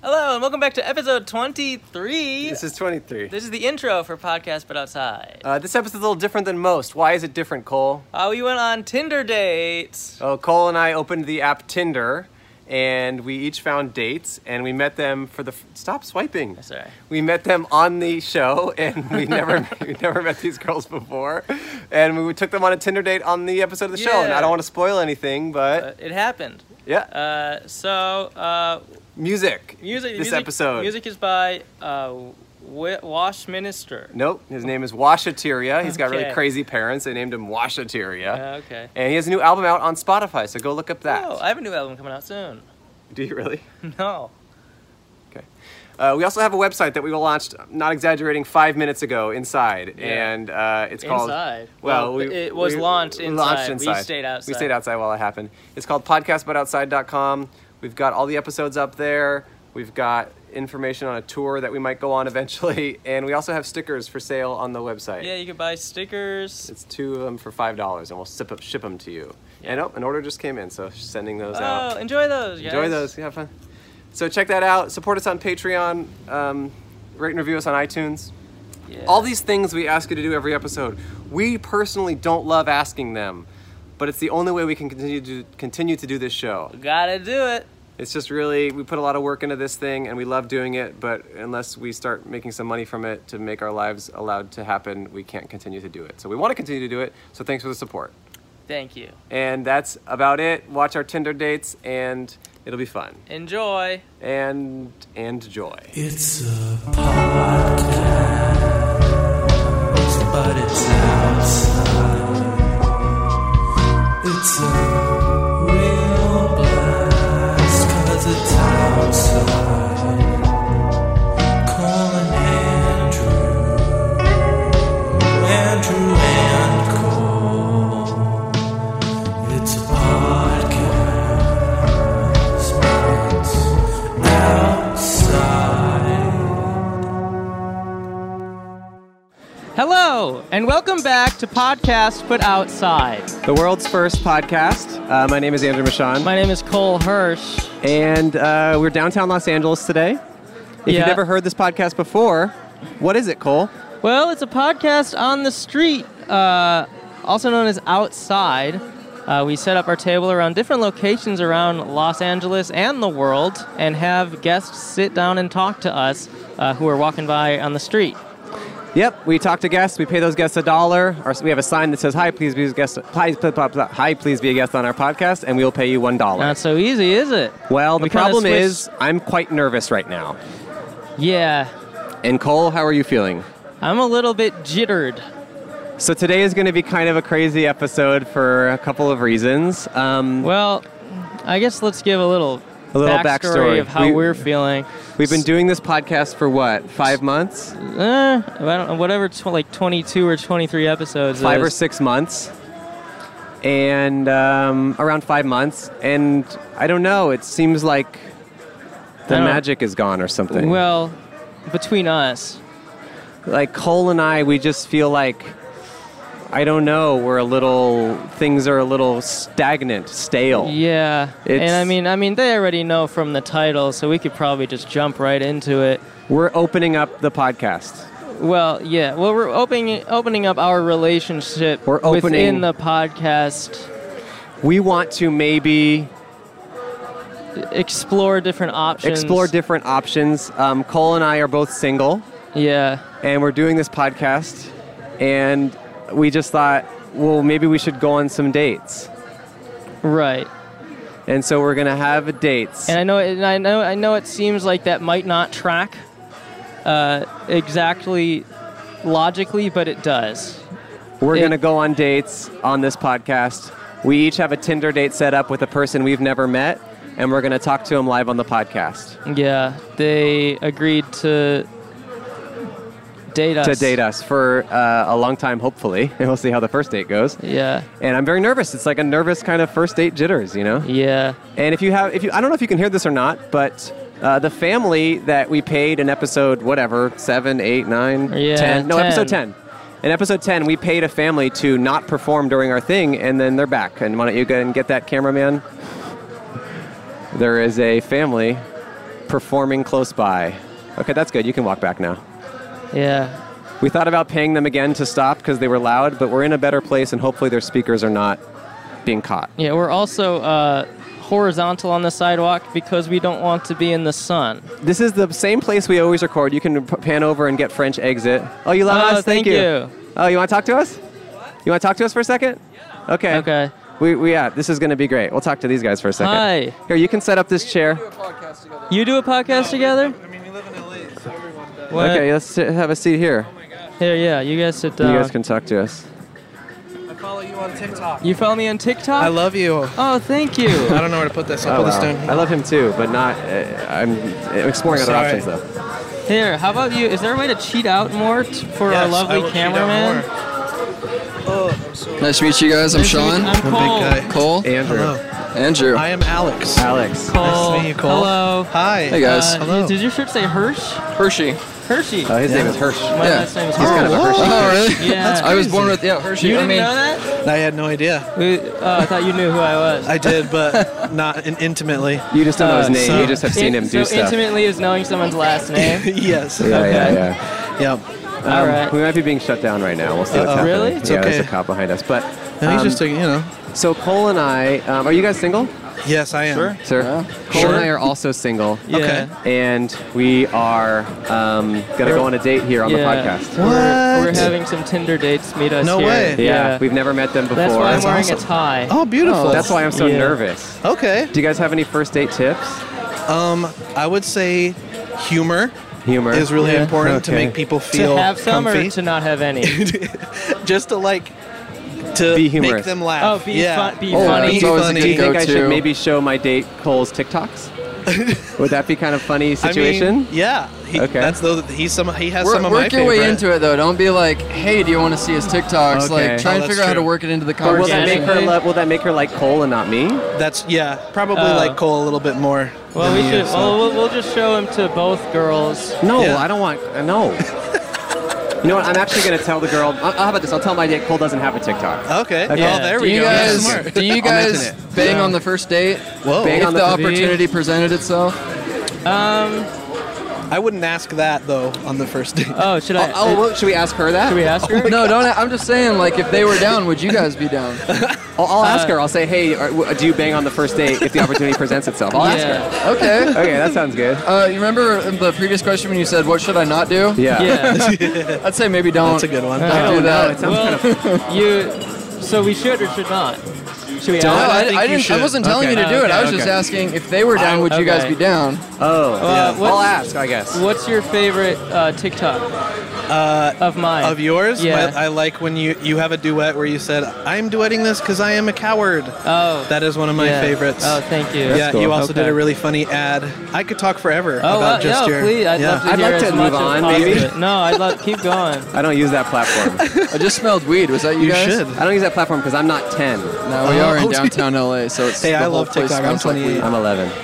Hello and welcome back to episode 23. This is 23. This is the intro for Podcast But Outside. Uh, this episode's a little different than most. Why is it different, Cole? Uh, we went on Tinder dates. Uh, Oh, Cole and I opened the app Tinder, and we each found dates, and we met them for the. F- Stop swiping. That's all right. We met them on the show, and we never we never met these girls before, and we took them on a Tinder date on the episode of the show. And Yeah. I don't want to spoil anything, but Uh, it happened. yeah, Uh, so, uh, music. music. This music- episode. Music is by uh, Wi- Wash Minister. Nope, his name is Washateria. He's got Okay. really crazy parents. They named him Washateria. Uh, okay. And he has a new album out on Spotify, so go look up that. Oh, I have a new album coming out soon. Do you really? No. Okay. Uh, we also have a website that we launched, not exaggerating, five minutes ago inside, Yeah. and uh, it's called. Inside. Well, Well, we- it was we launched launched inside. We inside. stayed outside. We stayed outside while it happened. It's called podcastbutoutside.com. We've got all the episodes up there. We've got information on a tour that we might go on eventually, and we also have stickers for sale on the website. Yeah, you can buy stickers. It's two of them for five dollars, and we'll sip up, ship them to you. Yeah. And oh, an order just came in, so sending those out. Oh, enjoy those, guys. Enjoy those. Have fun. So check that out. Support us on Patreon. Um, rate and review us on iTunes. Yeah. All these things we ask you to do every episode. We personally don't love asking them, but it's the only way we can continue to continue to do this show. Gotta do it. It's just really we put a lot of work into this thing and we love doing it, but unless we start making some money from it to make our lives allowed to happen, we can't continue to do it. So we want to continue to do it. So thanks for the support. Thank you. And that's about it. Watch our Tinder dates and it'll be fun Enjoy. and and joy. It's a podcast, but it's outside. It's a real blast, cause it's outside. Colin Andrew, Andrew and Cole. It's a podcast, but it's outside. Hello, and welcome back to Podcast But Outside. The world's first podcast. Uh, my name is Andrew Michon, My name is Cole Hirsch. and uh, we're downtown Los Angeles today. If Yeah. you've never heard this podcast before, what is it, Cole? Well, it's a podcast on the street, uh, also known as Outside. Uh, we set up our table around different locations around Los Angeles and the world and have guests sit down and talk to us uh, who are walking by on the street. Yep, we talk to guests. We pay those guests a dollar. Our, we have a sign that says, "Hi, please be a guest. Please, please, please, hi, please be a guest on our podcast," and we will pay you one dollar. Not so easy, is it? well, the we kinda problem switched- is, I'm quite nervous right now. Yeah, And Cole, how are you feeling? I'm a little bit jittered. So today is going to be kind of a crazy episode for a couple of reasons. Um, Well, I guess let's give a little, A little backstory. of how We- we, are feeling. We've been doing this podcast for what, five months? Eh, I don't know, whatever, tw- like 22 or 23 episodes. Five or is. six months. And um, around five months. And I don't know, it seems like I the don't- magic is gone or something. Well, between us, like Cole and I, we just feel like, I don't know, we're a little, things are a little stagnant, stale. yeah. and Oh. It's- I mean, I mean, they already know from the title, so we could probably just jump right into it. We're opening up the podcast. Well, yeah. Well, we're opening opening up our relationship We're opening- within the podcast. We want to maybe Explore different options. explore different options. Um, Cole and I are both single. Yeah. and we're doing this podcast and we just thought well maybe we should go on some dates Right. and so we're gonna have dates And I know, and I know, I know. It seems like that might not track uh, exactly logically, but it does. we're it- gonna go on dates on this podcast we each have a tinder date set up with a person we've never met and we're gonna talk to them live on the podcast Yeah, they agreed to date us. to date us for uh, a long time hopefully and we'll see how the first date goes Yeah, and i'm very nervous it's like a nervous kind of first date jitters you know yeah. And if you have, if you, I don't know if you can hear this or not, but uh, the family that we paid in episode whatever seven, eight, nine, ten, Yeah, no, 10. episode ten. In episode ten, we paid a family to not perform during our thing, and then they're back. And why don't you go and get that cameraman? There is a family performing close by. Okay, that's good. You can walk back now. Yeah. We thought about paying them again to stop because they were loud, but we're in a better place and hopefully their speakers are not being caught. Yeah, we're also uh, horizontal on the sidewalk because we don't want to be in the sun. This is the same place we always record. You can p- pan over and get French exit. Oh, you love Oh, us? thank Thank, you. Oh, you want to talk to us? You want to talk to us for a second? Yeah. Okay. Okay. We, we yeah, this is going to be great. We'll talk to these guys for a second. Hi. Here, you can set up this chair. You do a podcast together? I mean, we live in LA, so everyone does. What? Okay, let's sit, have a seat here. Here, yeah, you guys sit down. You guys can talk to us. I follow you on TikTok. You follow me on TikTok? I love you. Oh, thank you. I don't know where to put this. I'll Oh, put this wow. down. I love him too, but not. Uh, I'm I'm exploring other Sorry. options though. Here, how about you? Is there a way to cheat out more t- for our Yes, I lovely will cheat out cameraman? more. Oh, I'm so. Nice to meet you guys. I'm Nice to meet- Sean. I'm big Cole. guy. Cole. Andrew, Hello. Andrew. I am Alex. Alex, Cole. Nice to meet you, Cole. Hello. Hi. Hey, guys. Uh, Hello. Did your shirt say Hirsch? Hershey. Hershey. Oh, his name is Hirsch. My yeah. last name is He's Hirsch. kind of a Hershey. Oh, really? Yeah. That's I was crazy. born with, yeah, Hershey. You I didn't mean, know that? I had no idea. We, oh, I thought you knew who I was. I did, but not in- intimately. You just don't know his Uh, name. so- you just have seen him so do stuff. intimately is knowing someone's last name. yes. Yeah, yeah, Okay. yeah. Yep. All right. Um, We might be being shut down right now. We'll see what's Uh-oh. happening. Really? Yeah, It's there's a okay. cop behind us. But No, he's um, just a, you know. so Cole and I um, are you guys single, Yes, I am. Sure. sir? Cole Sure. and I are also single, Yeah. Okay. and we are um, gonna go on a date here on yeah. the podcast. We're, we're What? having some Tinder dates meet us No here. way. Yeah, we've never met them before. That's why I'm That's wearing a awesome. tie. Oh, beautiful. That's why I'm so Yeah. nervous. Okay. Do you guys have any first date tips? Um, I would say humor Humor is really Yeah. important to Okay. make people feel to have some comfy. or to not have any. just to like to Be make humorous. them laugh. Oh, be yeah. fun, be Uh, Oh, funny. that's always funny. a Do good you think I should go-to. maybe show my date Cole's TikToks? Would that be kind of funny I mean, situation? yeah. He, Okay. That's the, he's some he has Work, some of my work your favorite. way into it though. Don't be like, "Hey, do you want to see his TikToks?" Okay. Like, try Oh, and that's figure out how to true. work it into the Or will conversation. that make her? Lo- will that make her like Cole and not me? That's yeah. Probably Oh. like Cole a little bit more. Well, than we he should. is, so. Well, we'll, we'll just show him to both girls. No, Yeah. I don't want. uh, No. you know what? I'm actually gonna tell the girl. uh, How about this? I'll tell my date Cole doesn't have a TikTok. okay. Yeah. Oh, there do we you go. That's guys, smart. do you I'll mention guys it. bang on the first date Whoa. Bang if on the, the first- opportunity presented itself? Um. I wouldn't ask that though on the first date. Oh, should I? Oh, well, should we ask her that? should we ask her? No, don't. I'm just saying, like, if they were down, would you guys be down? I'll, I'll ask Uh, her. I'll say, hey, are, w- do you bang on the first date if the opportunity presents itself? I'll ask her. yeah. Okay. Okay, that sounds good. Uh, you remember in the previous question when you said, "What should I not do?" Yeah. Yeah. I'd say maybe don't. That's a good one. Don't I do don't that. well, you. So we should or should not? Should we No, ask? I I, think I you didn't. should. I wasn't telling Okay. you to do it. I was Okay, just okay. asking if they were down, would you guys okay. be down? Oh. Uh, Yeah. what's, I'll ask. I guess. What's your favorite uh, TikTok Uh, of mine? of yours, Yeah. my- I like when you you have a duet where you said, "I'm duetting this because I am a coward." oh. That is one of my yeah. favorites. Oh, thank you. yeah, you also did Okay. a really funny ad. I could talk forever Oh, about uh, just no, your. please. I'd yeah. love to I'd hear as like to much move as on, possible. maybe. No, I'd love. Keep going. I don't use that platform. I just smelled weed. Was that you, You guys? should. I don't use that platform because I'm not 10. No, we Oh, are in oh, dude. downtown LA, so it's. Hey, the I whole love place TikTok. I'm smells like 28. weed. I'm 11.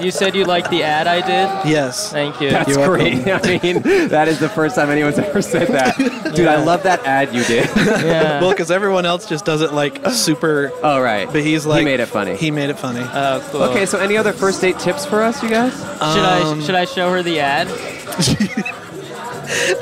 You said you liked the ad I did. yes. Thank you. That's You're great. I mean, that is the first time anyone's ever said that. Dude, I Yeah. love that ad you did. yeah. Well, because everyone else just does it like super, oh, right. but he's like he made it funny. He made it funny. oh, cool. okay, so any other first date tips for us, you guys? Should I Um, should I show her the ad?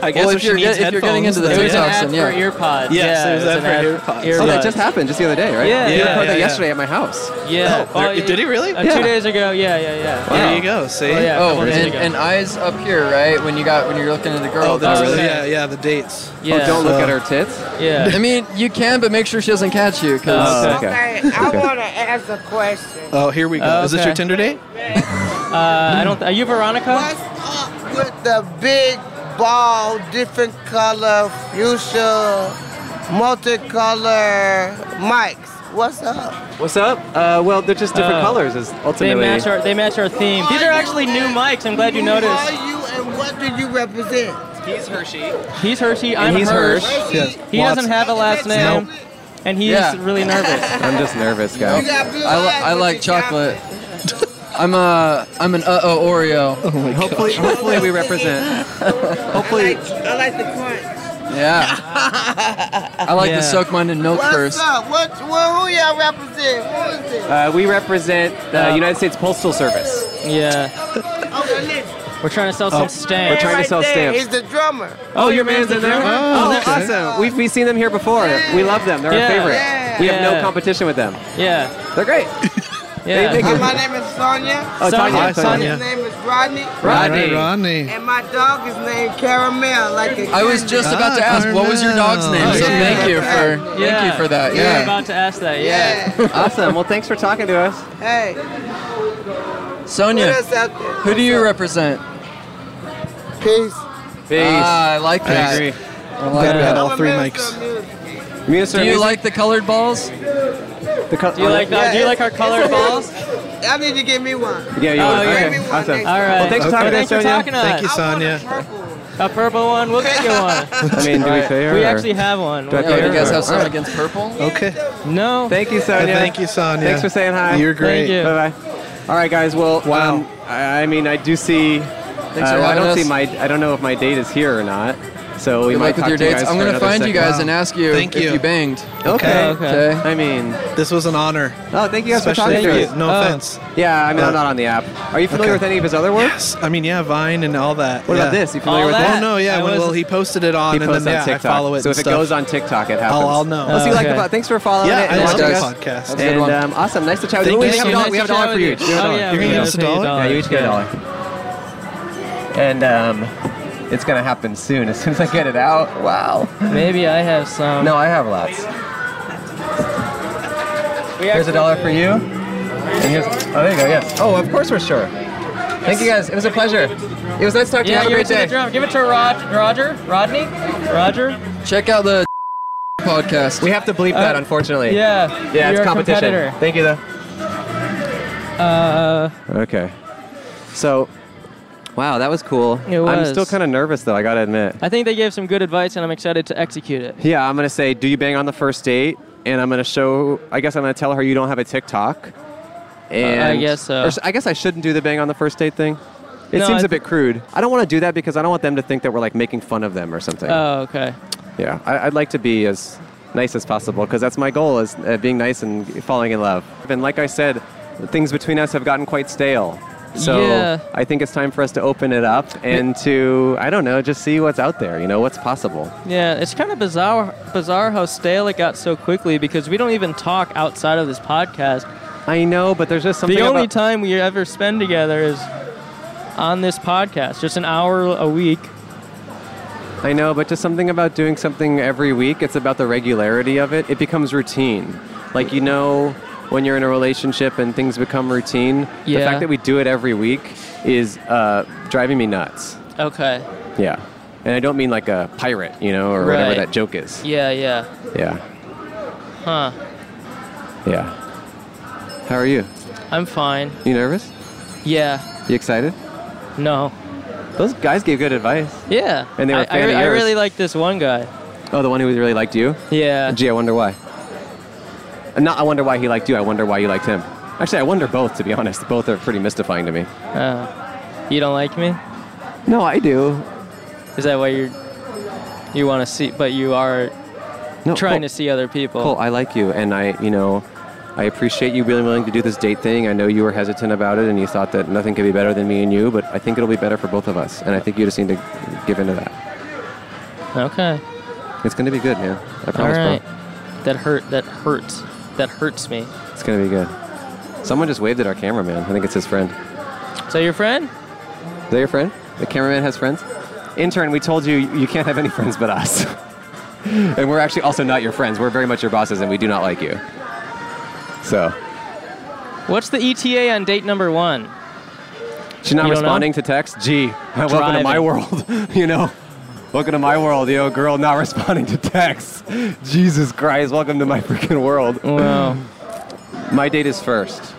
I guess Well, if if, she you're needs get- if you're getting headphones, into the then It was TikTok, an ad then, yeah. for earpods. Yes, yeah, it was an ad for ad- earpods. Oh, that earbuds. just happened just the other day, right? Yeah, You yeah, recorded that yeah. yesterday at my house. Yeah. Oh, there- did he really? Uh, Yeah. Two days ago. Yeah, yeah, yeah. Yeah, Wow. There you go. See. Oh, yeah. a Oh, couple days and, ago. and eyes up here, right? When you got when you're looking at the girl. Oh, that's Oh, really? yeah, yeah. The dates. Yeah. Oh, don't look So- at her tits. Yeah. I mean, you can, but make sure she doesn't catch you. Cause Oh, okay. Okay, I want to ask a question. Oh, here we go. Is this Okay. your Tinder date? Uh, I don't. Are you Veronica? What's up with the big ball, different color, fuchsia, multicolor mics? What's up? What's up? Uh, well, they're just different Oh. colors, is They ultimately. match our. They match our theme. These are actually new mics. I'm glad you Who noticed. are you and what do you represent? He's Hershey. He's Hershey. I'm And he's Hirsch. Hirsch. Yes. He Lots- doesn't have a last name, Nope. and he's Yeah. really nervous. I'm just nervous, You guys. got blue I, li- eyes I with like the chocolate. chocolate. I'm a I'm an uh oh Oreo. Hopefully, hopefully we represent. Hopefully, I like the crunch. Yeah. I like Yeah. to soak mine in milk What's first. up? What, what, who y'all represent? Who is it? uh, we represent the Uh, Oh, United States Postal Service. Yeah. Okay, listen. We're trying to sell some stank. Oh. We're trying to sell there, stamps. He's the drummer. Oh, your man's in there? Oh, okay. awesome. We've, we've seen them here before. We love them. They're Yeah. our favorite. Yeah. We have no Yeah. competition with them. yeah. They're great. Yeah. make Uh, it- my name is Sonia. Oh, Sonia, Tanya. Hi, Tanya. Sonia. His name is Rodney. Rodney. All right, Rodney. And my dog is named Caramel. Like a I was candy. just about to ask, what was your dog's name? Oh, so yeah. thank you for thank Yeah. you for that. We were Yeah. about to ask that. Yeah. Yeah. Awesome. Well, thanks for talking to us. hey. What Sonia, else out there? who do you represent? Peace. Peace. Ah, I like that. I like Glad we that. had all I'm a three minister mics. of music. Minister Do you music, like the colored balls? the co- Do you like that? Do you like our colored balls? I need to give me one. Yeah, you Oh, would. yeah. Okay. Give me one Awesome. next All time. right. Well, thanks for Okay. talking to Thanks us, for Sonia. talking to Thank you, us. I want a Sonia. purple one. A purple one. We'll get you one. I mean, do we pay her? We or- actually have one. Do I Yeah, pay do her? Oh, you guys have All something right. against purple? Okay. Oh, No. Thank you, Sonia. Thank you, Sonia. Thanks for saying hi. You're Thank great. you. Bye bye. All right, guys. Well, Wow. um, I, I mean, I do see. uh, for I having don't see us. my. I don't know if my date is here or not. So we Good might luck talk with your to you dates. guys I'm for gonna another find you segment. guys and ask you Thank if you. you banged. Okay. Okay. Okay. I mean, This was an honor. oh, thank you guys Especially for for talking you. to us. No Oh. offense. Yeah, I mean, I'm Uh, not on the app. Are you familiar okay. with any of his other work? Yes. I mean, yeah, Vine and all that. What yeah. about this? You familiar All with that. Oh no, yeah. I when- was- well, he posted it on, He and posts then on yeah, I TikTok. follow it. so and if it stuff. goes on TikTok, it happens. I'll, I'll know. Well, see, like the Okay. pod- Thanks for following yeah, it. I and love love this this. podcast. a good And one. um, awesome, nice to chat with Thank you. We you have a so dollar. much We have a for dollar for chatting you. with each. you. We have Oh, a yeah, dollar. we You're gonna gotta give us a pay dollar? Yeah, you each get a dollar. And um, it's gonna happen soon. As soon as I get it out. Wow. Maybe I have some. No, I have lots. We Here's actually- a dollar for you. And here's, oh, there you go. Yes. Oh, of course we're sure. Thank you guys. It was a pleasure. It was nice talking to you. Yeah, Have a give it great to the day. drum. Give it to Rod, Roger, Rodney, Roger. Check out the podcast. We have to bleep that, Uh, unfortunately. Yeah. Yeah, you're it's a competition. competitor. Thank you, though. Uh. Okay. So, wow, that was cool. It I'm was. still kind of nervous, though. I gotta admit. I think they gave some good advice, and I'm excited to execute it. Yeah, I'm gonna say, do you bang on the first date? And I'm gonna show. I guess I'm gonna tell her you don't have a TikTok. And guess so. or s- I guess I shouldn't do the bang on the first date thing. It No, seems I a bit crude. I don't want to do that because I don't want them to think that we're like making fun of them or something. Oh, okay. yeah, I, I'd like to be as nice as possible because that's my goal is uh, being nice and falling in love. And like I said, things between us have gotten quite stale. So Yeah. I think it's time for us to open it up and to I don't know, just see what's out there. You know, what's possible. Yeah, it's kind of bizarre, bizarre how stale it got so quickly because we don't even talk outside of this podcast. I know, but there's just something. the only about- time we ever spend together is on this podcast, just an hour a week. I know, but just something about doing something every week, it's about the regularity of it. It becomes routine. Like, you know, when you're in a relationship and things become routine, the Yeah. fact that we do it every week is uh, driving me nuts. Okay. Yeah. And I don't mean like a pirate, you know, or whatever Right. that joke is. Yeah, yeah. Yeah. Huh. Yeah. How are you? I'm fine. You nervous? Yeah. You excited? No. Those guys gave good advice. Yeah. And they were I, a fan I, of I yours. really like this one guy. Oh, the one who really liked you? Yeah. Gee, I wonder why. And not I wonder why he liked you, I wonder why you liked him. Actually, I wonder both, to be honest. Both are pretty mystifying to me. Oh. You don't like me? No, I do. Is that why you're you want to see, but you are No, trying to Cole, see other people? Cole, I like you, and I, you know, I appreciate you being willing to do this date thing. I know you were hesitant about it, and you thought that nothing could be better than me and you, but I think it'll be better for both of us, and I think you just need to give into that. Okay. It's gonna be good, man. I All promise, right. bro. That hurt. That hurts. That hurts me. It's gonna be good. Someone just waved at our cameraman. I think it's his friend. Is that your friend? Is that your friend? The cameraman has friends? Intern, we told you you can't have any friends but us. and we're actually also not your friends. We're very much your bosses and we do not like you. So, What's the ETA on date number one? she's not You don't know? responding to text? Gee, welcome to my Driving. world, you know? Welcome to my world, yo, girl, not responding to texts. Jesus Christ, welcome to my freaking world. Well, My date is first.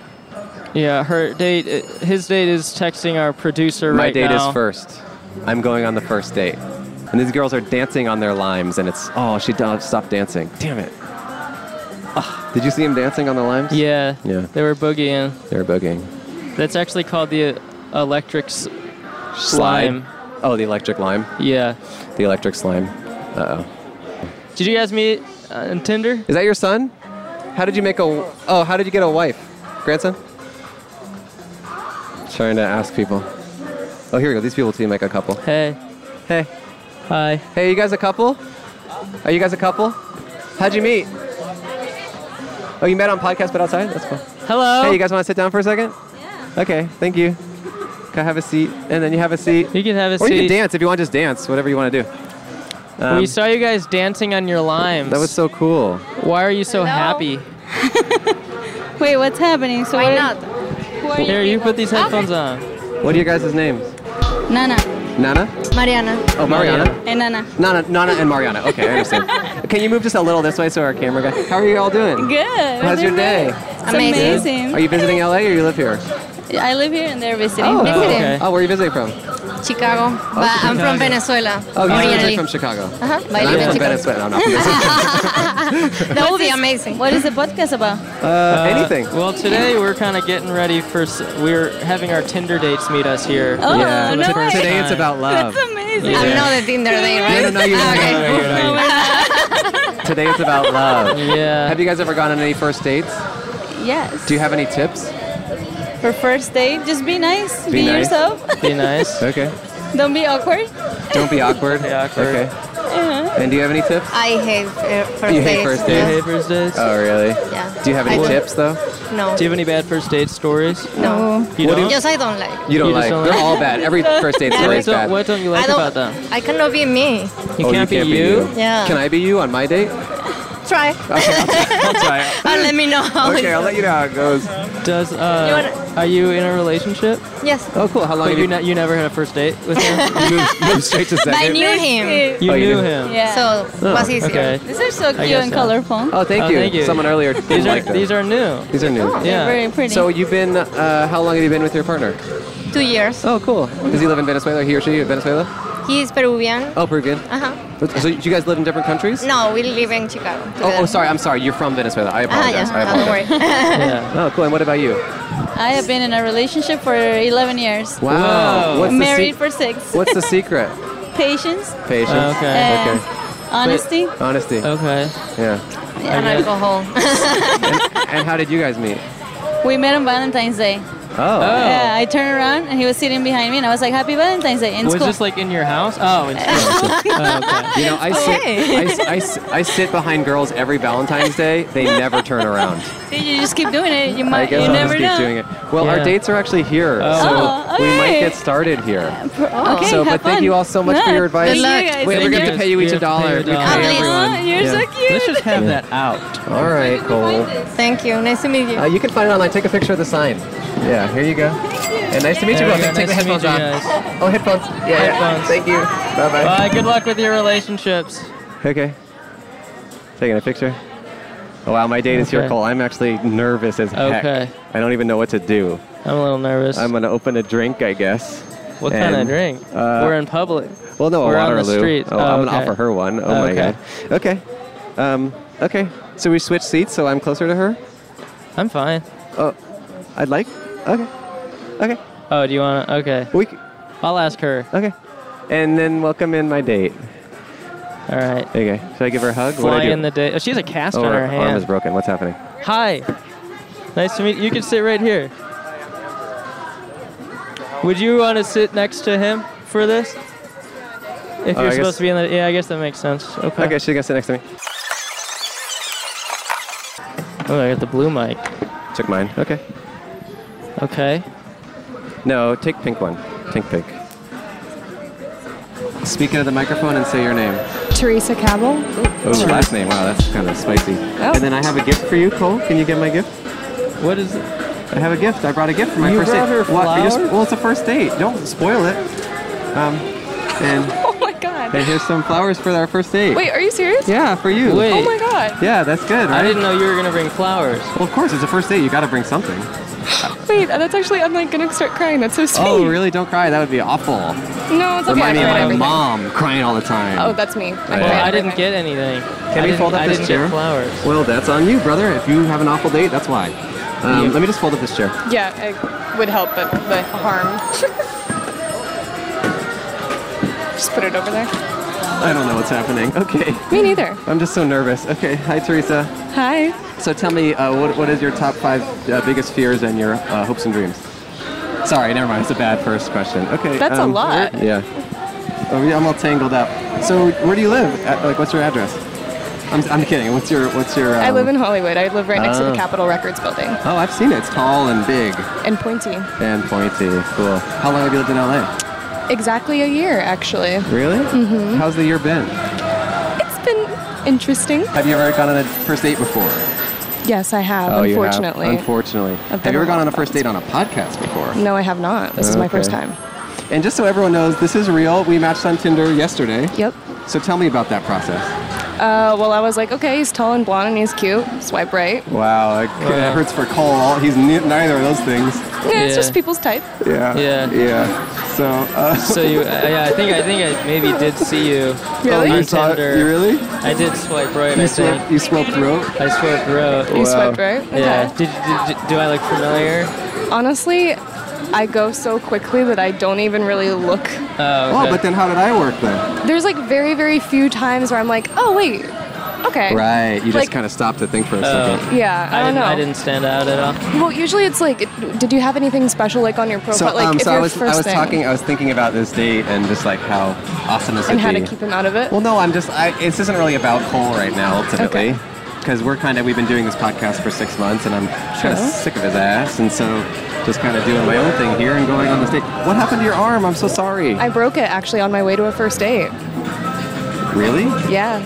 yeah, her date, uh, his date is texting our producer My right date now. is first. I'm going on the first date. And these girls are dancing on their limes, and it's, oh, she do- stopped dancing. Damn it. Ugh. did you see him dancing on the limes? Yeah, Yeah. they were boogieing. They're boogieing. That's actually called the uh, electric s- slime. Oh, the electric lime. Yeah. The electric slime. Uh oh. Did you guys meet uh, on Tinder? Is that your son? How did you make a, oh, how did you get a wife? Grandson? trying to ask people. Oh, here we go. These people seem like a couple. Hey. Hey, Hi. hey, you guys a couple? Are you guys a couple? How'd you meet? Oh, you met on podcast, but outside. That's cool. Hello. Hey, you guys want to sit down for a second? Yeah. Okay, thank you. Can I have a seat? And then you have a seat. You can have a Or you seat. can dance if you want to just dance, whatever you want to do. Um, we saw you guys dancing on your limes. that was so cool. Why are you so Hello? happy? Wait, what's happening? So Why what not? Who are Here, you put these people? headphones on. What are your guys' names? Nana, Nana? Mariana, Oh, Mariana. Mariana. and Nana. Nana, Nana and Mariana. Okay, I understand. Can you move just a little this way so our camera guy? How are you all doing? Good. How's your day? It's amazing. Are you visiting LA or you live here? I live here and they're visiting. Oh, Visiting. okay. oh, where are you visiting from? Chicago. but I'm Chicago. from Venezuela. Oh, you're originally. originally from Chicago. Uh-huh. But I And live I'm in from Chicago. Venezuela. No, I'm not from Venezuela. That would be amazing. What is the podcast about? Uh, anything. Well, today we're kind of getting ready for. s- We're having our Tinder dates meet us here. Oh, yeah. no way. today it's Time. about love. That's amazing. I'm not the Tinder day, right? No, no, no, you're not. okay. No, you're not. You're not. Today it's about love. Yeah. Have you guys ever gone on any first dates? Yes. Do you have any tips? For first date, just be nice. Be, Be nice. yourself. Be nice. Okay. Don't be awkward. Don't be awkward. be awkward. Okay. And do you have any tips? I hate uh, first You hate dates. first Hey, dates? Yeah. hey, first dates. Oh, really? Yeah. Do you have I any don't- tips though? No. do you have any bad first date stories? No. You What do don't. Just I don't like. You don't You just like. don't They're like- all bad. Every first date's Yeah. what, always don't, bad. what don't you I like don't. about them? I cannot be me. You Oh, can't, be, you can't you. Yeah. Can I be you on my date? Try. I'll try it. and let me know. how it- I'll let you know how it goes. Does You uh, wanna- are you in a relationship? Yes. Oh, cool. How long But have you you ne- you never had a first date with him. move, move straight to But I second? knew him. you Oh, you knew do? him. Yeah. So it was easier. Okay. these are so cute guess and so. colorful. Oh, thank, Oh, you. thank you. Someone earlier. These didn't are like them. these are new. These are Oh. new. Yeah. They're very pretty. So you've been. Uh, how long have you been with your partner? Two years. Oh, cool. Does he live in Venezuela? He or she in Venezuela? He is Peruvian. Oh, Peruvian. Uh huh. So you guys live in different countries? No, we live in Chicago. Oh, oh, together. sorry. I'm sorry. You're from Venezuela. I Ah, apologize. I yeah. Don't apologize. worry. yeah. Oh, cool. And what about you? I have been in a relationship for 11 years. Wow. What's Married the for six. se- What's the secret? Patience, Patience. Okay. and Eh, Okay. Oh. honesty, Honesty. Okay. Yeah. and guess. alcohol. And how did you guys meet? we met on Valentine's Day. Oh. Yeah, I turned around and he was sitting behind me, and I was like, "Happy Valentine's Day!" In Was school. this like in your house? Oh, in school. oh, okay. You know, I sit, I s- I, s- I sit behind girls every Valentine's Day. They never turn around. you just keep doing it. You I might. guess You I'll never just keep know. doing it. Well, Yeah. our dates are actually here, so Oh, we might okay. get started here. Oh, okay, so, have but thank fun. you all so much for Yeah, your advice. thank you luck. guys. Wait, Thank we're you. gonna pay you each Yeah, a dollar. pay We you a pay dollar. Oh, everyone. Aw, you're Yeah. so cute. Let's just have that out. All right, Cole. Thank you. Nice to meet you. Uh, you can find it online. Take a picture of the sign. Yeah, here you go. And nice to meet you. There both. we go. Take the Nice to meet headphones you off. guys. Oh, headphones. Yeah, yeah. Headphones. Thank you. Bye Bye. Good luck with your relationships. bye. Okay. Taking a picture. Oh, wow, my date is here, Okay. Cole. I'm actually nervous as heck. Okay. I don't even know what to do. I'm a little nervous. I'm gonna open a drink, I guess. what kind of and, drink? uh, We're in public. Well, no, a We're on the Waterloo. street. Oh, Oh, I'm okay. gonna offer her one. Oh my Okay. god. Okay. Um, okay. So we switch seats, so I'm closer to her. I'm fine. I'd like. Okay. Okay. Oh, do you want to? Okay. We. c- I'll ask her. Okay. And then welcome in my date. All right. Okay. Should I give her a hug? What do I do? Flying the day. Oh, she has a cast oh, on her, her arm is hand. broken. What's happening? Hi. Nice to meet you. You can sit right here. Would you want to sit next to him for this? If Oh, you're I guess- supposed to be in the. Yeah, I guess that makes sense. Okay. Okay, she's gonna sit next to me. Oh, I got the blue mic. Took mine. Okay. Okay. No, take pink one. Pink, pink. Speak into the microphone and say your name. Teresa Cabell. Oh, last name. Wow, that's kind of spicy. And then I have a gift for you, Cole. Can you get my gift? What is it? I have a gift. I brought a gift for my You first brought date. her I just- flowers? well, it's a first date. Don't spoil it. Um, and, Oh my god. and here's some flowers for our first date. Wait, are you serious? Yeah, for you. Wait. Oh my god. Yeah, that's good, I right? didn't know you were going to bring flowers. Well, of course, it's a first date. You got to bring something. Wait, that's actually, I'm like gonna start crying. That's so sweet. Oh, really? Don't cry. That would be awful. No, it's okay. Remind me I cried of my everything. mom crying all the time. Oh, that's me. I, yeah. cried Well, I didn't everything. get anything. Can I we didn't- fold up I this didn't chair? get flowers. Well, that's on you, brother. If you have an awful date, that's why. Um, Yeah. Let me just fold up this chair. Yeah, it would help, but the harm. Just put it over there. I don't know what's happening. Okay. Me neither. I'm just so nervous. Okay. Hi, Teresa. Hi. So tell me, uh, what, what is your top five uh, biggest fears and your uh, hopes and dreams? Sorry, never mind. It's a bad first question. Okay. That's a um, lot. where- yeah. Oh, yeah, I'm all tangled up. So, where do you live? At, like, what's your address? I'm, I'm kidding. What's your What's your? I um, live in Hollywood. I live right next to Oh. the Capitol Records building Oh, I've seen it. It's tall and big and pointy. and pointy. Cool. How long have you lived in LA? Exactly a year, actually. Really? Mm-hmm. How's the year been? It's been interesting. Have you ever gone on a first date before? Yes, I have, Oh, you have. unfortunately. Unfortunately. Have been you ever gone on a on a lot. Mm. first date on a podcast before? no, I have not. This is my first Okay. time. And just so everyone knows, this is real. We matched on Tinder yesterday. Yep. So tell me about that process. Uh, well, I was like, okay, he's tall and blonde and he's cute. Swipe right. Wow, it Wow. hurts for Cole. He's ne- neither of those things. Yeah, it's Yeah. just people's type. Yeah. Yeah. Yeah. So, uh, So you, uh, yeah, I think I think I maybe did see you Really? on Oh, you, saw, Tinder. you really? I did swipe right. You I think swiped, you swiped rope? I swiped right. You Wow. swipe right. Okay. Yeah. Did, did, did do I look familiar? Honestly, I go so quickly that I don't even really look. Oh, Oh, okay. but then how did I work then? There's like very, very few times where I'm like, oh wait, okay. Right. You just Like- uh, kind of stopped to think for a Oh. second. Yeah, I, I, don't didn't, know. I didn't stand out at all. Well, usually it's like, did you have anything special like on your profile? So, like um, if so your I was, first I was thing talking, I was thinking about this date and just like how awesome this and would how be. to keep him out of it. Well, no, I'm just. I, this isn't really about Cole right now, ultimately, because we're kind of we've been doing this podcast for six months, and I'm kind of Sure. sick of his ass, and so just kind of doing my own thing here and going on this date. What happened to your arm? I'm so sorry. I broke it actually on my way to a first date. really? Yeah,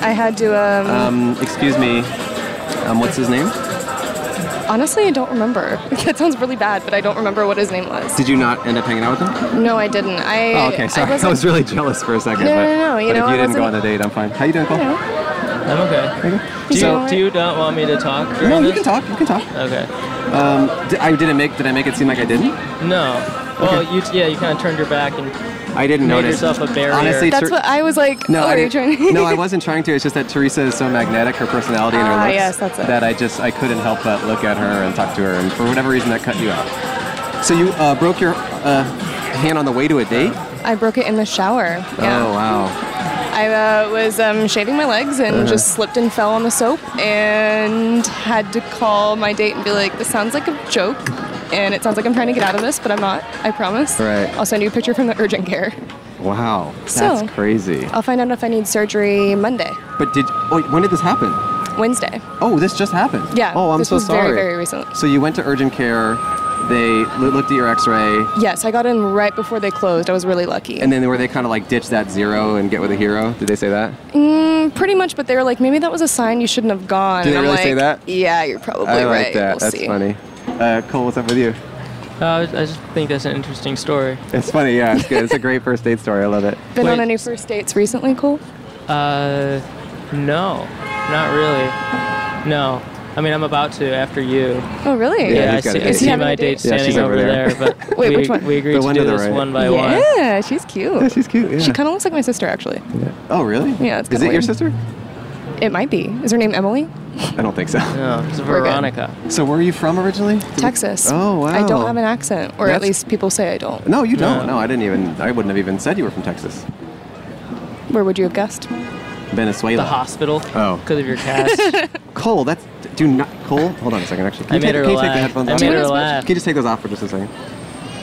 I had to. Um, Um, excuse me. Um, what's his name? honestly, I don't remember. that sounds really bad, but I don't remember what his name was. Did you not end up hanging out with him? No, I didn't. I. Oh, okay. Sorry, I I, wasn't- was really jealous for a second. No, but, no, no, you but know, if I you didn't go on wasn't- the date, I'm fine. How you doing, Cole? No. I'm okay. Do You know you, what? do you not want me to talk? during No, you this? can talk. You can talk. Okay. Um, did, I didn't make. Did I make it seem like I didn't? No. Well, you yeah, you kind of turned your back and I didn't Made notice. yourself a barrier. Honestly, That's Ter- what I was like. No, oh, I are you didn't- trying? no, I wasn't trying to. It's just that Teresa is so magnetic, her personality and her Ah, looks, yes, that's it. that I just I couldn't help but look at her and talk to her, and for whatever reason that cut you out. So you uh, broke your uh, hand on the way to a date? I broke it in the shower. Oh Yeah. wow! I uh, was um, shaving my legs and Uh-huh. just slipped and fell on the soap and had to call my date and be like, this sounds like a joke. And it sounds like I'm trying to get out of this, but I'm not. I promise. Right. I'll send you a picture from the urgent care. Wow, that's So- crazy. I'll find out if I need surgery Monday, But did oh, when did this happen? Wednesday. Oh, this just happened. Yeah. Oh, I'm this so was sorry. Very, very recent. So you went to urgent care. They lo- looked at your X-ray, Yes, I got in right before they closed. I was really lucky. and then were they kind of like ditch that zero and get with a hero? Did they say that? Mm, pretty much, but they were like, maybe that was a sign you shouldn't have gone. Did and they I'm really say like, that? Yeah, you're probably I like right. that. We'll that's see. funny. Uh, Cole, what's up with you? uh, I just think that's an interesting story. It's funny, yeah. It's good. It's a great first date story. I love it. Been on Wait. any first dates recently, Cole? Uh, no, not really. No, I mean I'm about to after you. Oh, really? Yeah, I he's got see, a date. I Is he see having my a date date? Yeah, standing she's over over there. there. but Wait, we, which one? we agreed The to one do to the this right. one by one. Yeah, she's cute. Yeah, she's cute. Yeah. She kind of looks like my sister, actually. oh, really? Yeah, it's Is it kinda your weird. sister? It might be. Is her name Emily? I don't think so. No, Oh, it's We're good. Veronica. So, where are you from originally? Texas. Oh, wow. I don't have an accent, or That's- at least people say I don't. No, you don't. No. No, I didn't even. I wouldn't have even said you were from Texas. Where would you have guessed? Venezuela. The hospital. Oh. Because of your cast. Cole, that's. Do not. Cole, hold on a second. Actually, can I you made take, her can you take laugh. the headphones I off? made her Can you laugh. just take those off for just a second?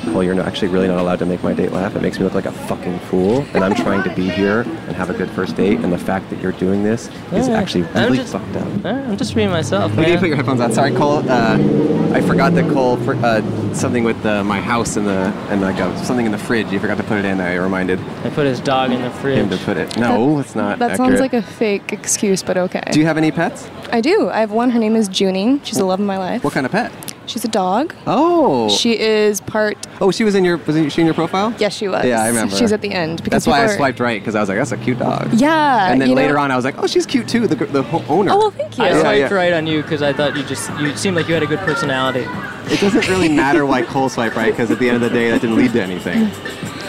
Well, you're not actually really not allowed to make my date laugh. It makes me look like a fucking fool, and I'm trying to be here and have a good first date. And the fact that you're doing this is Yeah. actually I'm really just- fucked up. Eh, I'm just being myself. Maybe you man. put your headphones on. Sorry, Cole. Uh, I forgot that Cole for, uh, something with uh, my house in the and like uh, something in the fridge. You forgot to put it in. I reminded I put his dog in the him to fridge. put it. No, it's not. That accurate. sounds like a fake excuse, but okay. Do you have any pets? I do. I have one. Her name is Junie. She's the love of my life. What kind of pet? She's a dog. Oh. She is part. oh, she was in your was she in your profile? Yes, she was. Yeah, I remember. She's at the end. Because That's why I people are- swiped right because I was like, that's a cute dog. Yeah. And then you know- later on, I was like, oh, she's cute too. The gr- the ho- owner. Oh well, thank you. I Yeah, swiped yeah. right on you because I thought you just you seemed like you had a good personality. It doesn't really matter why Cole swiped right because at the end of the day, that didn't lead to anything.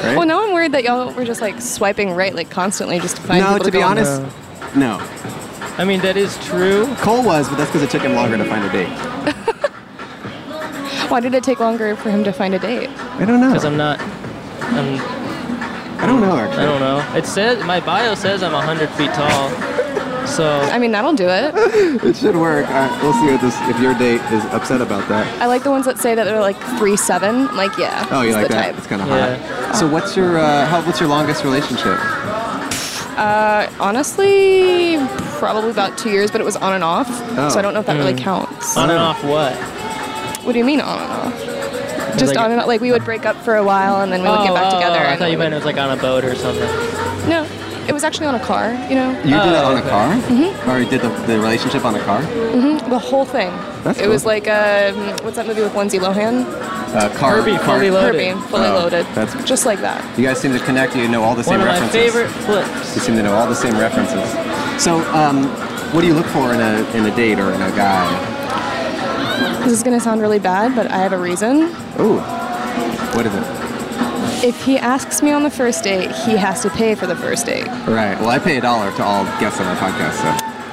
Right? Well, now I'm worried that y'all were just like swiping right, like constantly, just to find no, people to to be go on. honest, no. I mean that is true. Cole was, but that's because it took him longer to find a date. Why did it take longer for him to find a date? I don't know. Because I'm not. I'm, I don't know actually. I don't know. It says my bio says I'm 100 feet tall. So I mean, that'll do it. It should work. All right, we'll see what this, if your date is upset about that. I like the ones that say that they're like three seven. I'm like, yeah. Oh, you it's like the that? Type. It's kind of Yeah. hot. So what's your uh, how, what's your longest relationship? Uh, honestly, probably about two years, but it was on and off, Oh. so I don't know if that really Mm. counts. on and off what? What do you mean on and off? Just Like- Oh, on and off. Like we would break up for a while and then we would get back together. I and thought you we meant it was like on a boat or something. would- No, it was actually on a car. You know, You did it on Oh, okay. a car, mm-hmm. or you did the, the relationship on a car? Mm. the whole thing. That's it was cool. like um, what's that movie with Lindsay Lohan? Uh, car, Herbie, car. fully loaded. Herbie, fully Oh, loaded. that's- just like that. You guys seem to connect. You know all the same One of my references. favorite You flips. seem to know all the same references. So, um, what do you look for in a in a date or in a guy? This is gonna sound really bad, but I have a reason. Ooh, what is it? If he asks me on the first date, he has to pay for the first date. Right. Well, I pay a dollar to all guests on my podcast,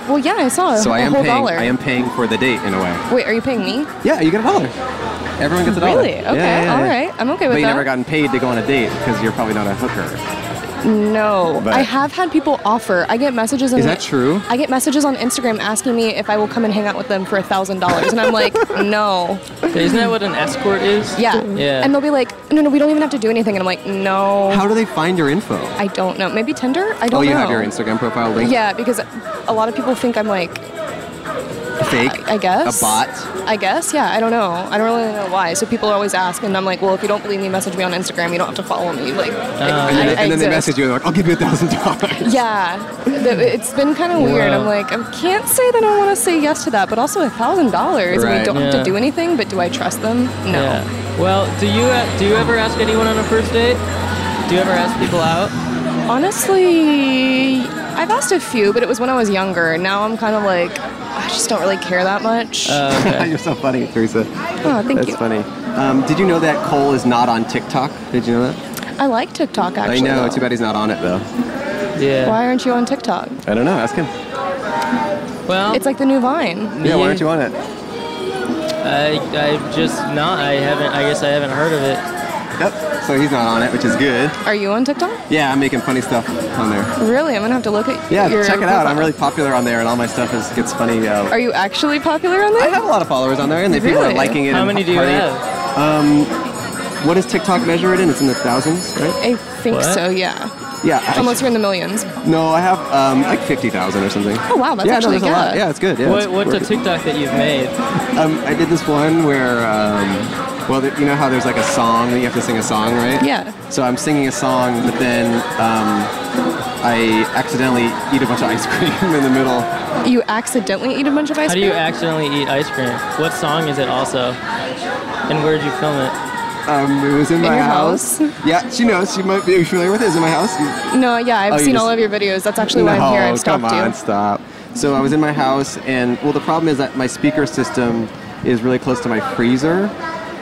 Well, yeah, I saw. so so a I am whole paying. dollar. I am paying for the date in a way. Wait, are you paying me? Yeah, you get a dollar. Everyone gets a dollar. Really? Okay. Yeah, yeah, yeah. All right. I'm okay with But you that. never gotten paid to go on a date because you're probably not a hooker. No, But- I have had people offer. I get messages. On Is that true? I get messages on Instagram asking me if I will come and hang out with them for a thousand dollars, and I'm like, no, Isn't that what an escort is? yeah, Yeah. and they'll be like, no, no, we don't even have to do anything, and I'm like, no, How do they find your info? I don't know. Maybe Tinder? I don't know. oh, you have your Instagram profile link. Yeah, because a lot of people think I'm like, Fake. I guess. A bot. I guess, yeah. I don't know. I don't really know why. So people always ask, and I'm like, well, if you don't believe me, message me on Instagram. You don't have to follow me. Like, And then, and then they exist. message you and they're like, I'll give you a thousand dollars. Yeah, th- it's been kind of weird. I'm like, I can't say that I want to say yes to that, but also a thousand dollars. We Right. don't have Yeah. to do anything, but do I trust them? No. Yeah. Well, do you uh, do you ever ask anyone on a first date? Do you ever ask people out? Honestly, I've asked a few, but it was when I was younger. Now I'm kind of like, I just don't really care that much. Uh, you're so funny, Teresa. oh, thank That's you. funny. Um, did you know that Cole is not on TikTok? Did you know that? I like TikTok actually. I know. though. Too bad he's not on it though. Yeah. Why aren't you on TikTok? I don't know. Ask him. Well, It's like the new Vine. Yeah. Yeah. Why aren't you on it? I I just not. I haven't. I guess I haven't heard of it. Yep. So he's not on it, which is good. Are you on TikTok? Yeah, I'm making funny stuff on there. Really? I'm gonna have to look at. Yeah, your check it out. I'm profile. really popular on there, and all my stuff is gets funny. Uh, Are you actually popular on I there? have a lot of followers on there, and the people are Really? liking it. How and many do you hearty. have? What does TikTok measure it in? It's in the thousands, right? I think What? so. Yeah. Yeah. I- Unless you're in the millions. no, I have um, like fifty thousand or something. Oh wow, that's yeah, actually no, good. there's a lot. Yeah, it's good. Yeah, it's What, what's a working. TikTok that you've made? Um, I did this one where, um, well, th- you know how there's like a song that you have to sing a song, right? Yeah. So I'm singing a song, but then um, I accidentally eat a bunch of ice cream in the middle. You accidentally eat a bunch of ice How do cream? you accidentally eat ice cream? What song is it also? And where'd you film it? Um, it was in, my your house. house? Yeah, she knows. She might be familiar with it. It was in my house. no, yeah, I've Oh, you seen just- all of your videos. That's actually why no, I'm here. I've come stopped on, you. stop. So I was in my house, and well, the problem is that my speaker system is really close to my freezer,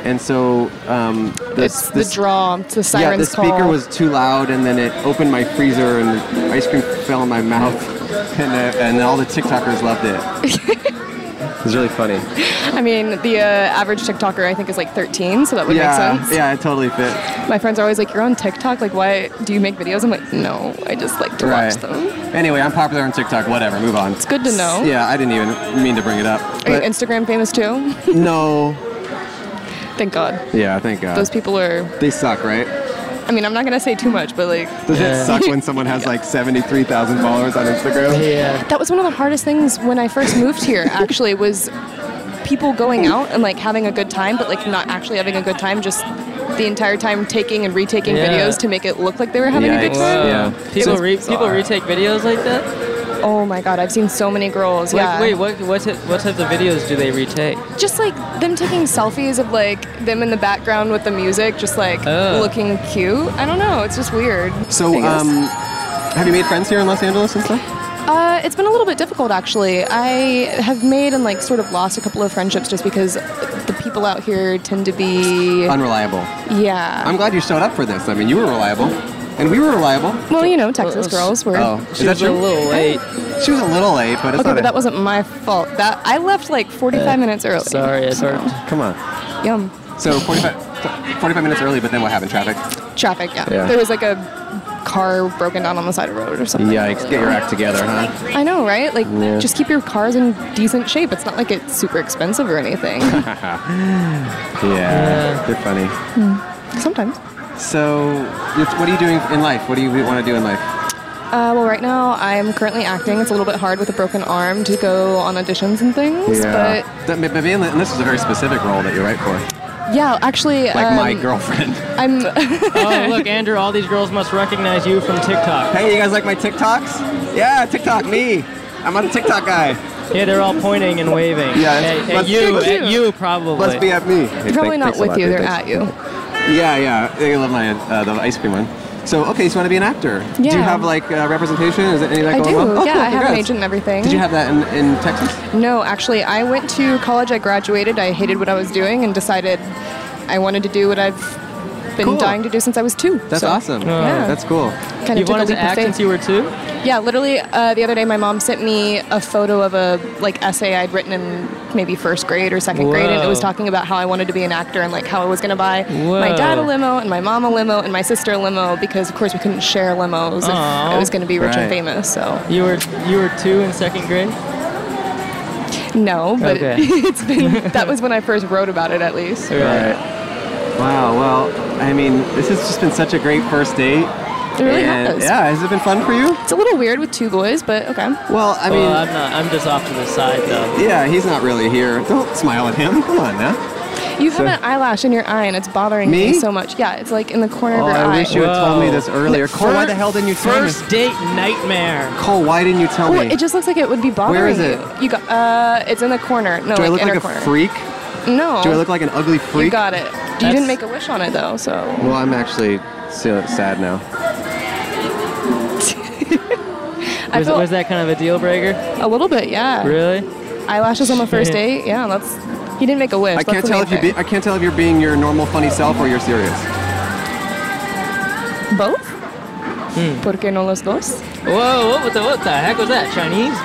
and so um, this, it's this the draw. It's the yeah, siren's the speaker call. was too loud, and then it opened my freezer, and the ice cream fell in my mouth, and uh, and all the TikTokers loved it. It was really funny. I mean, the uh, average TikToker I think is like 13, so that would yeah, make sense. yeah, it totally fit. My friends are always like, "You're on TikTok. Like, why do you make videos?" I'm like, "No, I just like to watch them." Anyway, I'm popular on TikTok. Whatever, move on. It's good to know. Yeah, I didn't even mean to bring it up. Are you but- Instagram famous too? no. Thank God. Yeah, thank God. Those people are. They suck, right? I mean, I'm not gonna say too much, but like, Does Yeah. it suck when someone has like 73,000 followers on Instagram? Yeah. that was one of the hardest things when I first moved here. Actually, was people going out and like having a good time, but like not actually having a good time. Just the entire time taking and retaking Yeah. videos to make it look like they were having a good Yikes. time. Yeah. uh, People was re- bizarre. people retake videos like that. Oh my God, I've seen so many girls. Like, yeah. Wait, what what t- what types of videos do they retake? just like them taking selfies of like them in the background with the music, just like Oh. looking cute. I don't know. It's just weird. So, I guess. um, have you made friends here in Los Angeles and stuff? uh, it's been a little bit difficult actually. I have made and like sort of lost a couple of friendships just because the people out here tend to be Unreliable. yeah. I'm glad you showed up for this. I mean, you were reliable, and we were reliable. well, you know, Texas Well, girls were. Oh, is She that was a true? little late. She was a little late, but it's Okay, not. but that wasn't my fault. That I left like 45 minutes early. Oh, Sorry, I burped. Come on. Yum. So 45, 45 minutes early, but then what happened? Traffic. Traffic. Yeah. Yeah. There was like a car broken down on the side of the road or something. Yikes! Get your act together, huh? I know, right? Like, Yeah. just keep your cars in decent shape. It's not like it's super expensive or anything. yeah, they're funny. Sometimes. So, it's- what are you doing in life? What do you want to do in life? Uh, well, right now I'm currently acting. It's a little bit hard with a broken arm to go on auditions and things. That- but maybe unless- this is a very specific role that you're right for, But yeah, actually, like um, my girlfriend. I'm. oh, look, Andrew, all these girls must recognize you from TikTok. Hey, you guys like my TikToks? Yeah, TikTok me. I'm on a TikTok guy. Yeah, they're all pointing and waving. Yeah, at, at let's- you, Thank you. at you probably. Let's be at me. Hey, They're probably thank- not thanks a with lot, you. dude, They're thanks. at you. Yeah, yeah. They love my uh, the ice cream one. So, okay, so you want to be an actor? Do you Yeah. have like uh, representation? Is it any of that I do. going on? yeah, I have an agent and everything. Did you have that in, in Texas? No, actually, I went to college. I graduated. I hated what I was doing and decided I wanted to do what I've been Cool. dying to do since I was two. That's So, awesome. Yeah. That's cool. Kind you of took a wanted leap to of act faith. since you were two? Yeah, literally uh, the other day, my mom sent me a photo of a like essay I'd written in maybe first grade or second grade, and it was Whoa. talking about how I wanted to be an actor and like how I was going to buy my Whoa. dad a limo and my mom a limo and my sister a limo because of course we couldn't share limos Aw. if it was going to be rich Right. and famous. So You were you were two in second grade. no, but Okay. it's been that was when I first wrote about it at least. Right. Wow. Well, I mean, this has just been such a great first date. It really and, has. Yeah. Has it been fun for you? It's a little weird with two boys, but okay. Well, I mean, Well, uh, I'm not. I'm just off to the side though. yeah, he's not really here. Don't smile at him. Come on now. You have an eyelash in your eye, and it's bothering Me? me, so much. Yeah, it's like in the corner Oh, of your I eye. wish you had told me Whoa. this earlier. Cole, why the hell didn't you tell First me? date nightmare. Cole, why didn't you tell Well, me? it just looks like it would be bothering is it? you. You got uh, it's in the corner. No, Do like I look inner like a corner. freak? No. Do I look like an ugly freak? You got it. You That's- didn't make a wish on it though, so Well, I'm actually so sad now. I Was, felt was that kind of a deal breaker? a little bit, yeah. Really? Eyelashes on the first date, yeah. That's you didn't make a wish. I that's can't the tell main if you be, thing. I can't tell if you're being your normal funny self or you're serious. both. Hmm. ¿Por qué no los dos? Whoa! What, the what the heck was that? Chinese?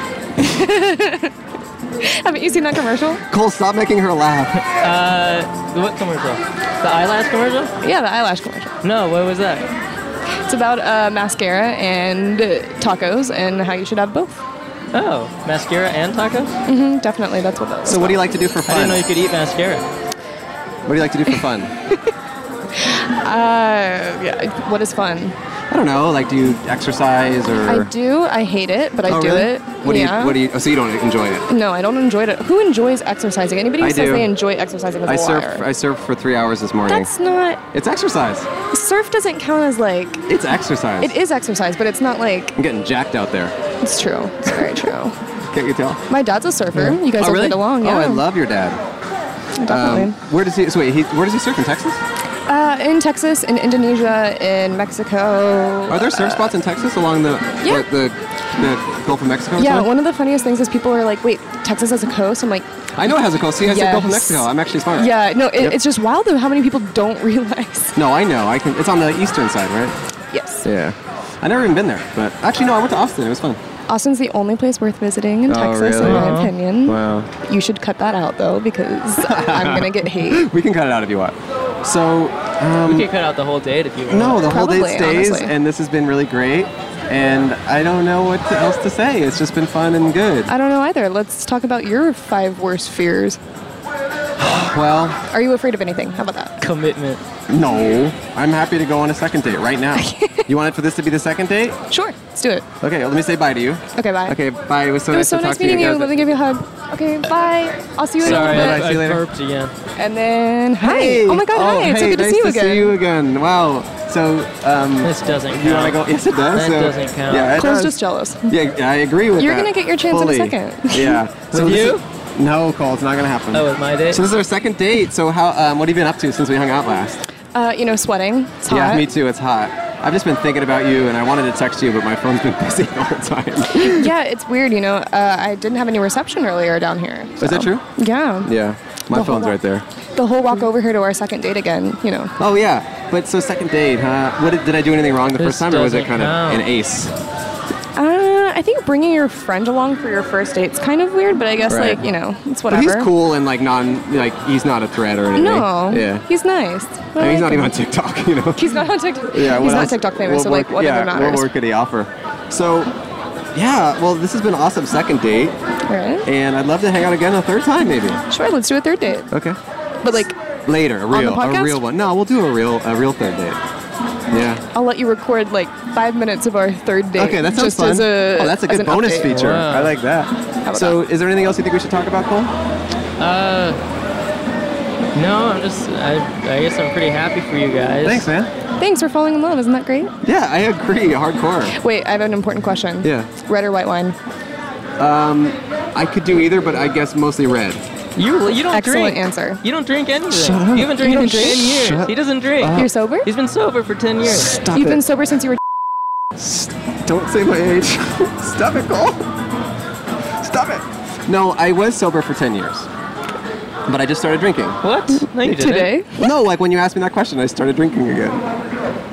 Haven't you seen that commercial? Cole, stop making her laugh. Uh, what commercial? The eyelash commercial? Yeah, the eyelash commercial. No. What was that? It's about uh, mascara and uh, tacos and how you should have both. Oh, mascara and tacos. hmm definitely, that's what that was. So, what do you like to do for I didn't know fun? you could eat mascara. What do you like to do for fun? Uh, yeah, what is fun? I don't know. Like, do you exercise or? I do. I hate it, but I Oh, do really? it. What do yeah. you? What do you? Oh, so you don't enjoy it? No, I don't enjoy it. Who enjoys exercising? Anybody who I says do. they enjoy exercising is a I surf. liar. I surfed for three hours this morning. That's not. It's exercise. Surf doesn't count as like. It's exercise. It is exercise, but it's not like. I'm getting jacked out there. It's true. It's very true. Can't you tell? My dad's a surfer. You guys oh, all really? get along. Yeah. Oh, I love um, your dad. Definitely. where does he? So wait, he, where does he surf in Texas? uh, in Texas, in Indonesia, in Mexico. Are there surf spots in Texas along the yeah. what, the, the Gulf of Mexico? or Yeah, something? one of the funniest things is people are like, "Wait, Texas has a coast." I'm like, I know it has a coast. See, I said Gulf of Yes. Mexico. I'm actually smart. "Yeah, no, it, Yep. it's just wild though how many people don't realize." No, I know. I can. It's on the eastern side, right? Yes, Yeah. I never even been there, but actually no. I went to Austin. It was fun. Austin's the only place worth visiting in Oh, Texas, really? in my Aw. opinion. Wow. You should cut that out though, because I'm gonna get hate. We can cut it out if you want. So You could cut out the whole date if you want. no, the whole Probably, date stays, honestly. and this has been really great. And I don't know what to- else to say. It's just been fun and good. I don't know either. Let's talk about your five worst fears. Well, Are you afraid of anything? How about that? commitment. no, I'm happy to go on a second date right now. you want it for this to be the second date? Sure, let's do it. Okay, well, let me say bye to you. Okay, bye. Okay, bye. It was so It was nice so to nice talk to you meeting you. guys. Let me give you a hug. Okay, bye. I'll see you in Sorry, a Bye-bye, I, see little I you later. burped again. bit. And then, hi. Hey! Oh my God, hi. Hey, it's so good nice to see you again. see you again. Wow. So, um, This doesn't count. you want to go? Yes, it does. That so, doesn't count. Yeah, it Cole's does. just jealous. Yeah, I agree with You're that. gonna get your chance in a Fully. second. Yeah. With this you? is- no, Cole, it's not gonna happen. Oh, with my date. So this is our second date. So how? Um, what have you been up to since we hung out last? Uh, you know, sweating. It's hot. Yeah, me too. It's hot. I've just been thinking about you, and I wanted to text you, but my phone's been busy the whole time. Yeah, it's weird. You know, uh, I didn't have any reception earlier down here. Is that true? Yeah. Yeah, my The whole phone's wa- right there. The whole walk over here to our second date again. You know, Oh yeah, but so second date, huh? What did, did I do anything wrong the This first time, or was it doesn't kind of count. an ace? uh, I think bringing your friend along for your first date's kind of weird, but I guess Right. like you know, it's But whatever. he's cool and like non like he's not a threat or anything. No. Yeah. He's nice. I mean, he's not even on TikTok, you know. He's not on TikTok. Yeah, he's what not else- TikTok famous, what so like work- whatever yeah, matters. What work could he offer? So, yeah, well, this has been an awesome second date, All right. and I'd love to hang out again a third time, maybe. Sure, let's do a third date. Okay. But like, Later, a the real, a podcast? real one. No, we'll do a real, a real third date. Yeah. I'll let you record like five minutes of our third date. Okay, that sounds just fun. As a, oh, that's a as good an bonus update. feature. Wow. I like that. So, is there anything else you think we should talk about, Cole? Uh, no, I'm just. I, I guess I'm pretty happy for you guys. Thanks, man. Thanks for falling in love. Isn't that great? Yeah, I agree. Hardcore. Wait, I have an important question. Yeah. Red or white wine? Um, I could do either, but I guess mostly red. You you don't Excellent drink. answer. You don't drink anything. Shut up. You haven't drank You in don't ten drink? years. Shut he doesn't drink. Oh. You're sober? He's been sober for ten years. Stop You've it. been sober since you were. Don't say my age. Stop it, Cole. Stop it. No, I was sober for 10 years. But I just started drinking. What? No, you didn't. Today? No, like when you asked me that question, I started drinking again.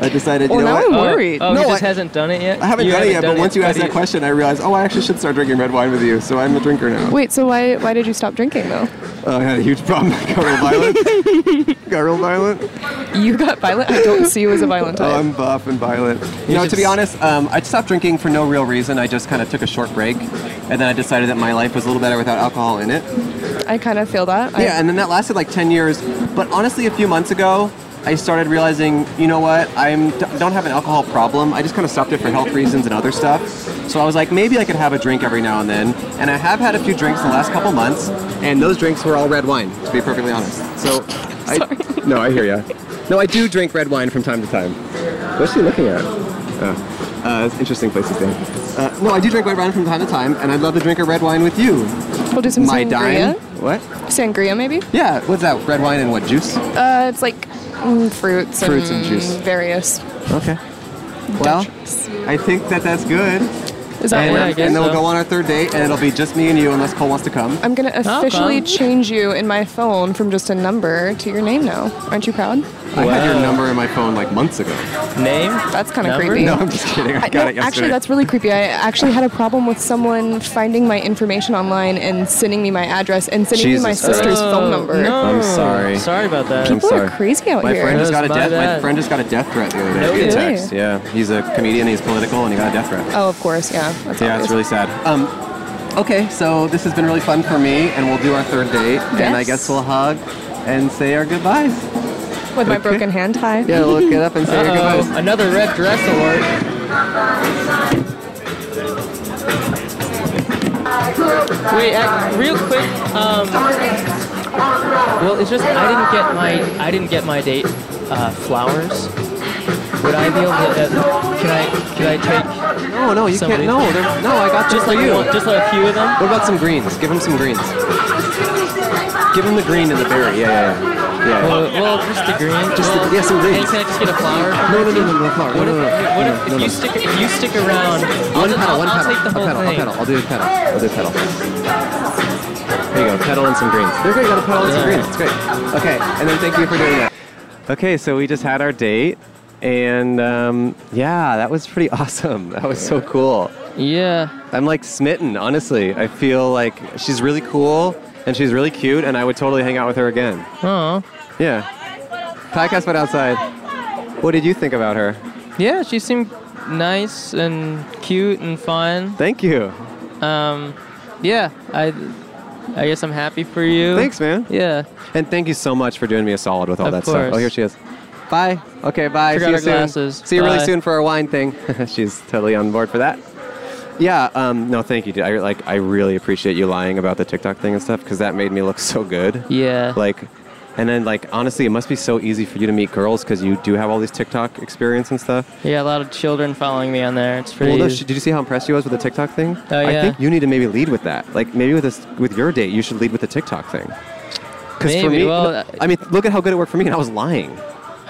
I decided, Well, you know now what? I'm Oh, worried. Oh, No, he just I- hasn't done it yet. I haven't done it yet, but once you asked but that he- question, I realized, oh, I actually should start drinking red wine with you, so I'm a drinker now. Wait, so why why did you stop drinking though? Oh, I had a huge problem. I got real violent. got real violent. You got violent. I don't see you as a violent Oh, type. I'm buff and violent. You know, should to be s- honest, um, I stopped drinking for no real reason. I just kind of took a short break, and then I decided that my life was a little better without alcohol in it. I kind of feel that. I- Yeah, and then that lasted like 10 years. But honestly, a few months ago, I started realizing, you know what? I don't have an alcohol problem. I just kind of stopped it for health reasons and other stuff. So I was like, maybe I could have a drink every now and then. And I have had a few drinks in the last couple months, and those drinks were all red wine, to be perfectly honest. So, I, no, I hear ya. No, I do drink red wine from time to time. What's she looking at? Oh, uh, it's interesting places there. Uh, no, I do drink red wine from time to time, and I'd love to drink a red wine with you. we'll do some My dime. sangria. What? Sangria maybe. Yeah, what's that? Red wine and what juice? Uh, it's like mm, fruits, Fruits and juice. various. Okay. Well, I think that that's good. Is that And, um, Yeah, I one? guess and then we'll so. go on our third date, and it'll be just me and you, unless Cole wants to come. I'm gonna come. officially change you in my phone from just a number to your name now. Aren't you proud? I had your number in my phone like months ago. Name? That's kind of Number? creepy. No, I'm just kidding. I I- got no, it yesterday. actually, that's really creepy. I actually had a problem with someone finding my information online and sending me my address and sending me my Jesus Christ. sister's Oh, phone number. No. I'm sorry. Sorry about that. I'm People sorry. are crazy out my here. friend just That got a was my death. My bad. friend just got a death threat the other day. via kidding. text. Yeah, he's a comedian. He's political, and he got a death threat. oh, of course, yeah. That's yeah, obvious. it's really sad. Um, okay, so this has been really fun for me, and we'll do our third date, and I Yes. guess we'll hug and say our goodbyes. with my broken hand tie. Yeah, we'll get up and say our goodbyes. Uh-oh, another red dress alert. Wait, ac- real quick. Um, well, it's just I didn't get my I didn't get my date uh, flowers. Would I be able to? Uh, can I can I take No, no, you Somebody- can't. No, they're- no, I got just just like for you. one, just like a few of them? What about some greens? Give him some greens. Give him the green and the berry. Yeah, yeah, yeah. yeah. Well, Uh, well, just the green. Just the- well, yeah, some hey, greens. Can I just get a flower? from No, her? no, no, no, no, flower. What if, No, no, no, what no, if, no, if no. you stick if you stick around? I'll, One just, petal, I'll, one I'll take petal. the a whole petal, thing. a petal. I'll do a petal. I'll do a petal. There you go. Petal and some greens. They're great. Got a petal and some Yeah. greens. It's great. Okay, and then thank you for doing that. Okay, so we just had our date, and um, yeah, that was pretty awesome. That was so cool. Yeah. I'm like smitten, honestly. I feel like she's really cool and she's really cute, and I would totally hang out with her again. Oh. Yeah. Podcast but outside. What did you think about her? Yeah, she seemed nice and cute and fun. Thank you. Um, yeah, I, I guess I'm happy for you. Thanks, man. Yeah. And thank you so much for doing me a solid with all Of that stuff. course. Oh, here she is. Bye. Okay, bye. Forgot See you our soon. glasses. See you really Bye. soon for our wine thing. She's totally on board for that. Yeah. Um, no, thank you. dude. I like. I really appreciate you lying about the TikTok thing and stuff because that made me look so good. Yeah. Like, and then like honestly, it must be so easy for you to meet girls because you do have all these TikTok experience and stuff. yeah, a lot of children following me on there. It's pretty. Well, no, sh- did you see how impressed you was with the TikTok thing? Oh, I yeah. think you need to maybe lead with that. Like maybe with this, with your date, you should lead with the TikTok thing. Because Maybe, for me, well, no, I mean, look at how good it worked for me, and I was lying.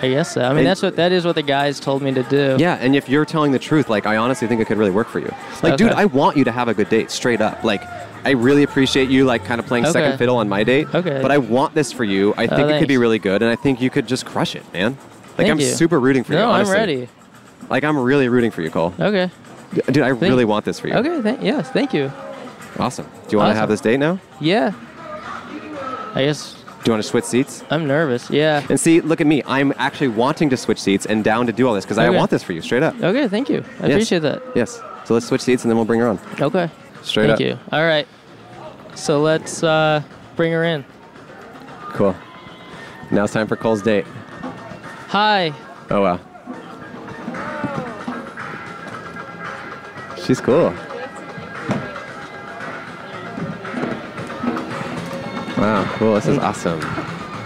I guess so. I mean, And- that's what that is what the guys told me to do. Yeah, and if you're telling the truth, like I honestly think it could really work for you. Like, dude, Okay. I want you to have a good date, straight up. Like, I really appreciate you, like, kind of playing second Okay. fiddle on my date. Okay. Oh, But I want this for you. I think it could be thanks. really good, and I think you could just crush it, man. Like, Thank I'm you. super rooting for you. No, I'm honestly. ready. Like, I'm really rooting for you, Cole. Okay. D- Dude, I really want this for you. Okay, th- yes, thank you. Awesome. Do you want to Awesome. have this date now? Yeah. I guess. Do you want to switch seats? I'm nervous. Yeah. And see, look at me. I'm actually wanting to switch seats and down to do all this because I Okay. want this for you, straight up. Okay, thank you. I Yes. appreciate that. Yes. So let's switch seats and then we'll bring her on. Okay. Straight thank up. you. All right. So let's uh, bring her in. Cool. Now it's time for Cole's date. Hi. Oh wow. She's cool. Wow, cool. This is awesome.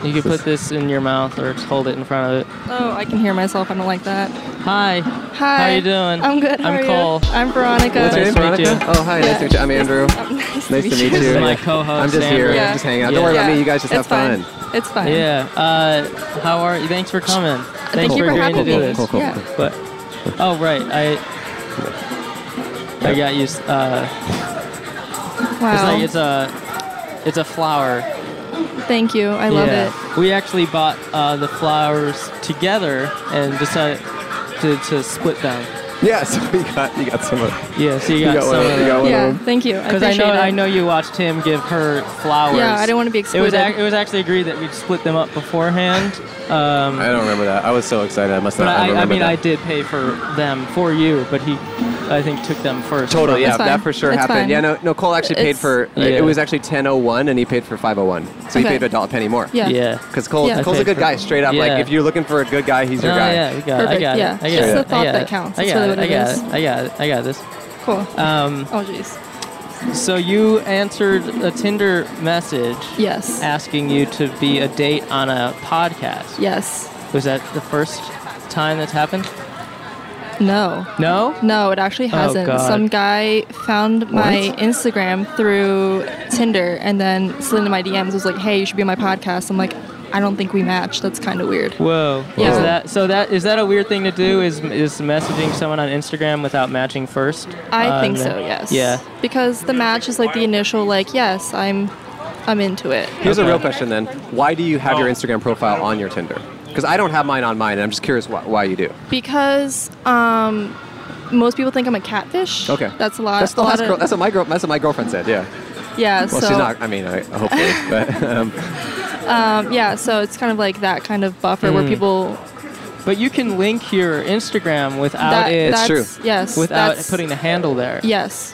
You can put this in your mouth or just hold it in front of it. Oh, I can hear myself. I don't like that. Hi. Hi. How you doing? I'm good. How I'm are you? Cole. I'm Veronica. What's your name, Nice to meet Veronica? you. Oh, hi. Nice to meet you. I'm Andrew. nice, Nice to meet This you. is my co-host. I'm just here. Andrew. I'm just hanging out. Don't worry about me. You guys just have fun. It's fine. Yeah. Uh, how are you? Thanks for coming. Thanks you for agreeing to having do me. this. Cool, cool, Yeah. But oh right, I I got you. s- Uh, It's Wow. like it's a it's a flower. Thank you. I love yeah. it. We actually bought uh, the flowers together and decided to, to split them. Yeah, so you got you got some of Yeah, so you You got, got one some of- of you got them. one of Yeah. Thank you. I Because I, appreciate know it. I know you watched him give her flowers. Yeah, I didn't wanna be It was, excluded. ac- it was actually agreed that we'd split them up beforehand. Um, I don't remember that. I was so excited. I must but not have I, I remembered mean, that. I did pay for them for you, but he, I think, took them first. Totally, yeah, That's fine. that for sure That's happened. fine. Yeah, no, no, Cole actually paid It's- for. Yeah. It was actually ten oh one, and he paid for five oh one. So he Okay. paid a dollar penny more. Yeah. Yeah. Because Cole, Yeah. Cole's a good guy, straight up. Yeah. Like if you're looking for a good guy, he's your No, guy. Oh, yeah, we got it. I Perfect, got it. yeah. I got It's it. the I thought got that it. counts. I That's got it. really what I it got is. it. I got it. I got this. Cool. Um, oh jeez. so you answered a Tinder message Yes. asking you to be a date on a podcast. Yes. Was that the first time that's happened? No. No? No, it actually Oh, hasn't. God. Some guy found my Instagram through Tinder and then slid into my DMs. Was like, "Hey, you should be on my podcast." I'm like, "I don't think we match. That's kind of weird." Whoa. Yeah. Is that so that is that a weird thing to do is is messaging someone on Instagram without matching first? I Uh, Um, think so. Yes. Yeah. Because the match is like the initial, like, "Yes, I'm, I'm into it." Here's a real question then: Why do you Oh. have your Instagram profile on your Tinder? Because I don't have mine on mine, and I'm just curious why, why you do. Because um, most people think I'm a catfish. Okay. That's a lot. That's the a last. lot Girl, of, that's what my girl. That's what my girlfriend said. Yeah. Yeah. Well, so she's not. I mean, I, hopefully, but um, Um, yeah. So it's kind of like that kind of buffer where Hmm. Mm. people But you can link your Instagram without That- it It's that's- true. yes, without that's- putting the handle there. Yes.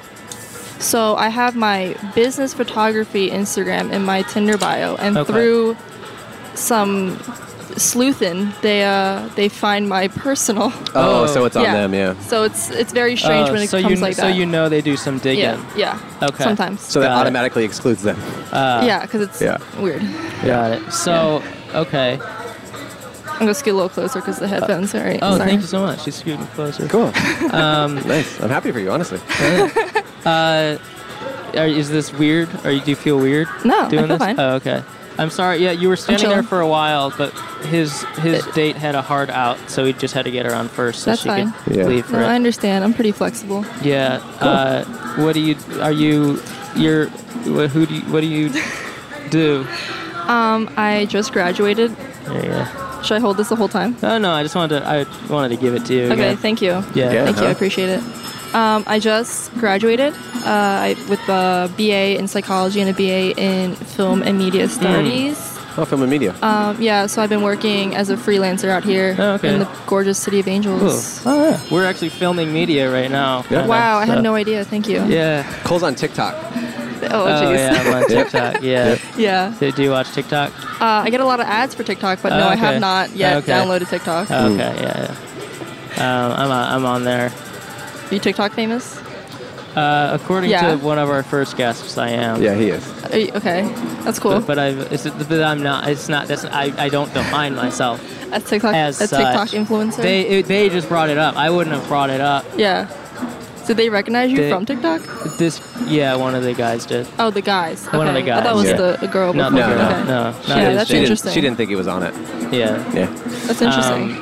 So I have my business photography Instagram in my Tinder bio, and Okay. through some sleuthing, they uh, they find my personal. oh, so it's on them. Yeah. So it's it's very strange Oh, when it so comes you, like so that. you know they do some digging. yeah, yeah. Okay. Sometimes. So that Got it. automatically excludes them. Uh, yeah, because it's yeah. weird. Got it. So okay. I'm gonna scoot a little closer because the Uh, headphones. All right. Oh, sorry. thank you so much. She's scooting closer. Cool. Um, nice. I'm happy for you, honestly. uh, are, is this weird? Or do you feel weird? No, I doing feel this? fine. Oh, okay. I'm sorry. Yeah, you were standing there chilling. for a while, but his his date had a hard out, so we just had to get her on first so That's she could fine. Yeah. leave for No, it. I understand. I'm pretty flexible. Yeah. Uh, what do you? Are you? You're. What, who do you? What do you do? Um, I just graduated. There you go. Should I hold this the whole time? Oh no! I just wanted to. I wanted to give it to you. Okay, again. thank you. Yeah. Yeah. Thank you, I huh? appreciate it. Um, I just graduated uh, I, with a BA in psychology and a BA in film and Mm. media studies. Oh, film and media. Um, yeah, so I've been working as a freelancer out here Oh, okay. in the gorgeous city of Cool. Angels. Oh, yeah. We're actually filming media right now. Yeah. Wow, I So- had no idea. Thank you. Yeah. Cole's on TikTok. Oh, oh jeez. yeah, I'm on TikTok. Yeah. yeah. Did Do you watch TikTok? Uh, I get a lot of ads for TikTok, but no, Oh, I okay. have not yet Okay. downloaded TikTok. Oh, okay. Yeah. yeah. Um, I'm on, I'm on there. Are you TikTok famous? Uh, according Yeah. to one of our first guests, I am. Yeah, he is. Are you- okay, that's cool. But, but I've. It's, but I'm not. It's not. That's. I. I don't define myself. a TikTok, as a TikTok such, influencer. They it, they just brought it up. I wouldn't have brought it up. yeah. Did they recognize you They- from TikTok? This yeah, one of the guys did. Oh, the guys. One of Okay. the I thought it was guys, the, the girl. Not the before. girl. No, Okay. no, not yeah, his that's she didn't. interesting. She didn't think he was on it. Yeah. Yeah. That's interesting.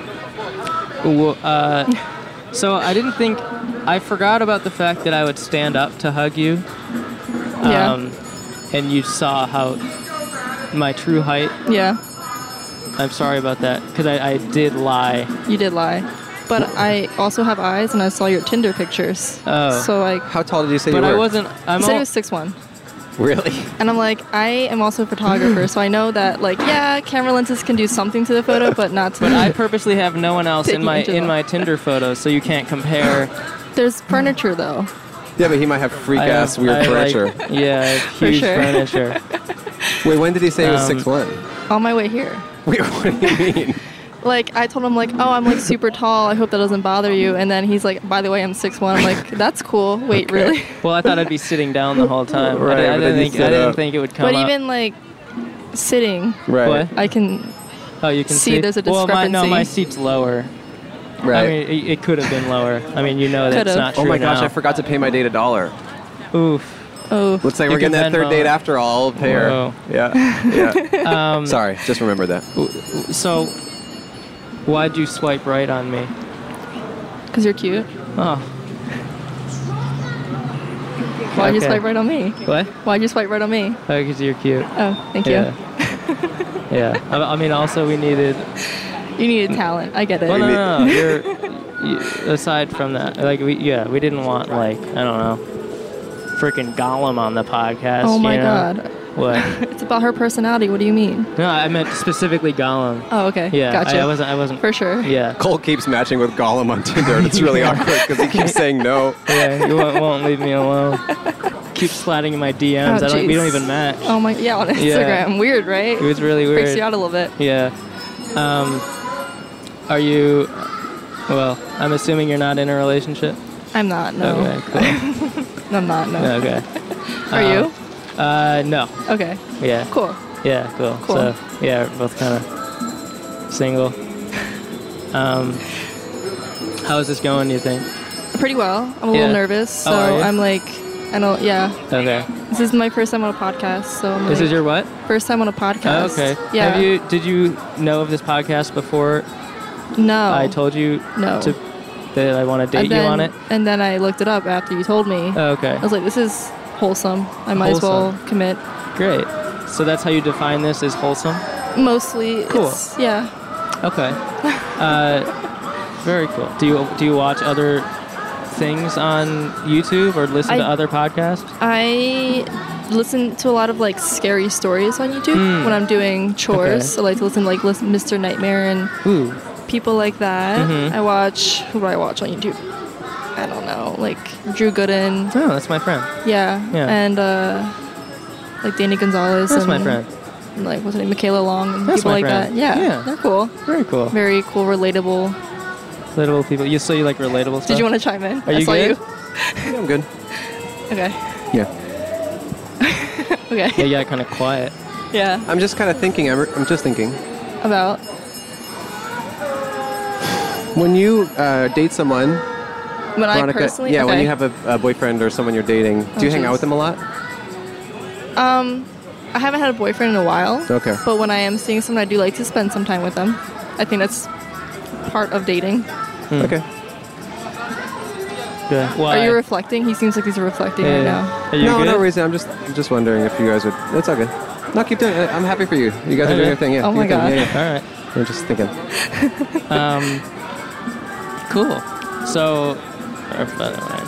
Well, uh, so I didn't think. I forgot about the fact that I would stand up to hug you. Um, Yeah. and you saw how my true height. yeah, I'm sorry about that because I, I did lie. you did lie. but I also have eyes, and I saw your Tinder pictures. Oh. So like. How tall did you say But you were? I wasn't. I'm you said al- he was six one, Really? and I'm like, I am also a photographer, so I know that like, yeah, camera lenses can do something to the photo, but not to. But I purposely have no one else in Taking my into in the- my Tinder photos, so you can't compare. There's furniture though. Yeah, but he might have freak I ass have- weird I like- furniture. yeah, I have For huge sure. furniture. Wait, when did he say he was Um, six one? On my way here. Wait, what do you mean? Like I told him like, oh, I'm like super tall. I hope that doesn't bother you. And then he's like, by the way, I'm six one. I'm like, that's cool. Wait, really? Well, I thought I'd be sitting down the whole time. I Right, di- I, but then didn't you think I sit didn't up. think it would come But up. even like sitting, Right. I can. Oh, you can see. See, there's a Well, my, no, discrepancy. my seat's lower. Right. I mean, it, it could have been lower. I mean, you know that's Could've. not true oh my gosh, now. I forgot to pay my date a dollar. Oof. Oh, Looks like You we're getting can that third Venmo date it. after all. I'll pay her. Whoa. Yeah. Yeah. Um, Sorry, just remember that. So, why'd you swipe right on me? cause you're cute. Oh, Why'd you Okay. swipe right on me? what? Why'd you swipe right on me? Because you're cute. Oh, thank you. Yeah. yeah. I, I mean, also we needed. You needed talent. I get it. Well, no, no, no. You're, you, aside from that, like we, yeah, we didn't want like I don't know, freaking Gollum on the podcast. Oh my you know? God. What? It's about her personality. What do you mean? No, I meant specifically Gollum. Oh, okay. Yeah. I- Gotcha. I, wasn't. I wasn't. For sure. Yeah. Cole keeps matching with Gollum on Tinder, and it's really awkward because he keeps saying no. Yeah. You won't, won't leave me alone. Keep sliding in my DMs. I Oh, don't, we don't jeez. even match. Oh my. Yeah, on Yeah. Instagram. Weird, right? It was really weird. Freaks you out a little bit. Yeah. Um, are you? Well, I'm assuming you're not in a relationship. I'm not. No. Okay. I'm not. No. Cool. okay. Are you? Uh, no. Okay. Yeah. Cool. Yeah. Cool. Cool. So yeah, we're both kind of single. Um, how's this going? Do you think? Pretty well. I'm a Yeah. little nervous, so Oh, are you? I'm like, I don't. Yeah. Okay. This is my first time on a podcast, so I'm This like- is your what? first time on a Oh, podcast. okay. Yeah. Have you? Did you know of this podcast before No. I told you Oh. No. to that I want to And date you on then- it? And then I looked it up after you told me. Oh, okay. I was like, this is wholesome. I might as well Wholesome. commit. Great. So that's how you define this as wholesome? Mostly. Cool. It's, yeah. Okay. Uh, very cool. Do you do you watch other things on YouTube or listen to I- other podcasts? I listen to a lot of like scary stories on YouTube Mm. when I'm doing chores. Okay. So like to listen to like listen, Mr. Nightmare and Ooh. people like that. Mhm. I watch who do I watch on YouTube? I don't know. Like Drew Gooden. Oh, that's my friend. Yeah. Yeah. And uh like Danny Gonzalez. That's and, my friend. and, like what's her name? Michaela Long and That's people my like friend. that. Yeah. Yeah. They're cool. Very cool. Very cool, relatable. Relatable people. You so you like relatable stuff? Did you want to chime in? Are I you saw good? Yeah, I'm good. you. Okay. Yeah. Yeah, Okay. you got kind of quiet. yeah. I'm just kind of thinking. I'm, I'm just thinking. About. When you uh, date someone, When I Veronica, personally. yeah, when okay. you have a, a boyfriend or someone you're dating, do Oh, you hang out jeez. with them a lot? Um, I haven't had a boyfriend in a while. Okay. But when I am seeing someone, I do like to spend some time with them. I think that's part of dating. Hmm. Okay. Good. Why? Are you reflecting? He seems like he's reflecting Yeah, right now. yeah. Are you no, good? no reason. I'm just, I'm just wondering if you guys would. It's all good. No, keep doing it. I'm happy for you. You guys are Okay. doing your thing. Yeah. Oh do my your thing. God. Yeah, All right. yeah. I'm just thinking. Um, cool. So. or- but, uh,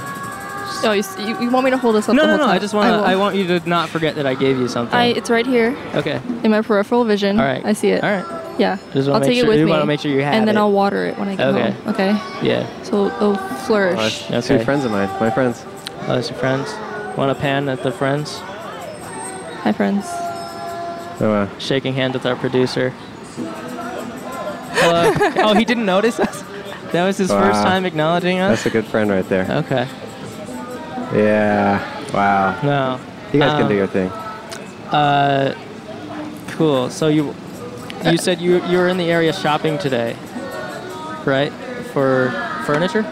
Oh, you, s- you, you want me to hold this up? No, the no, whole no. time? I just want to. will. I, want you to not forget that I gave you something. I- it's right here okay. in my peripheral vision. All right. I see it. All right. Yeah. Just wanna I'll make take sure- it with you me. wanna make sure you have And then it. I'll water it when I get Okay. home. Okay. Yeah. So it'll flourish. Gosh, Two Okay. friends of mine. My friends. Oh, that's your friends. Want a pan at the friends? Hi, friends. Oh, uh, Shaking hands with our producer. Hello. oh, he didn't notice us. That was his first Wow. time acknowledging us. that's a good friend right there. Okay. Yeah. Wow. No. You guys can Um, do your thing. Uh, cool. So you, you said you you were in the area shopping today, right? For furniture.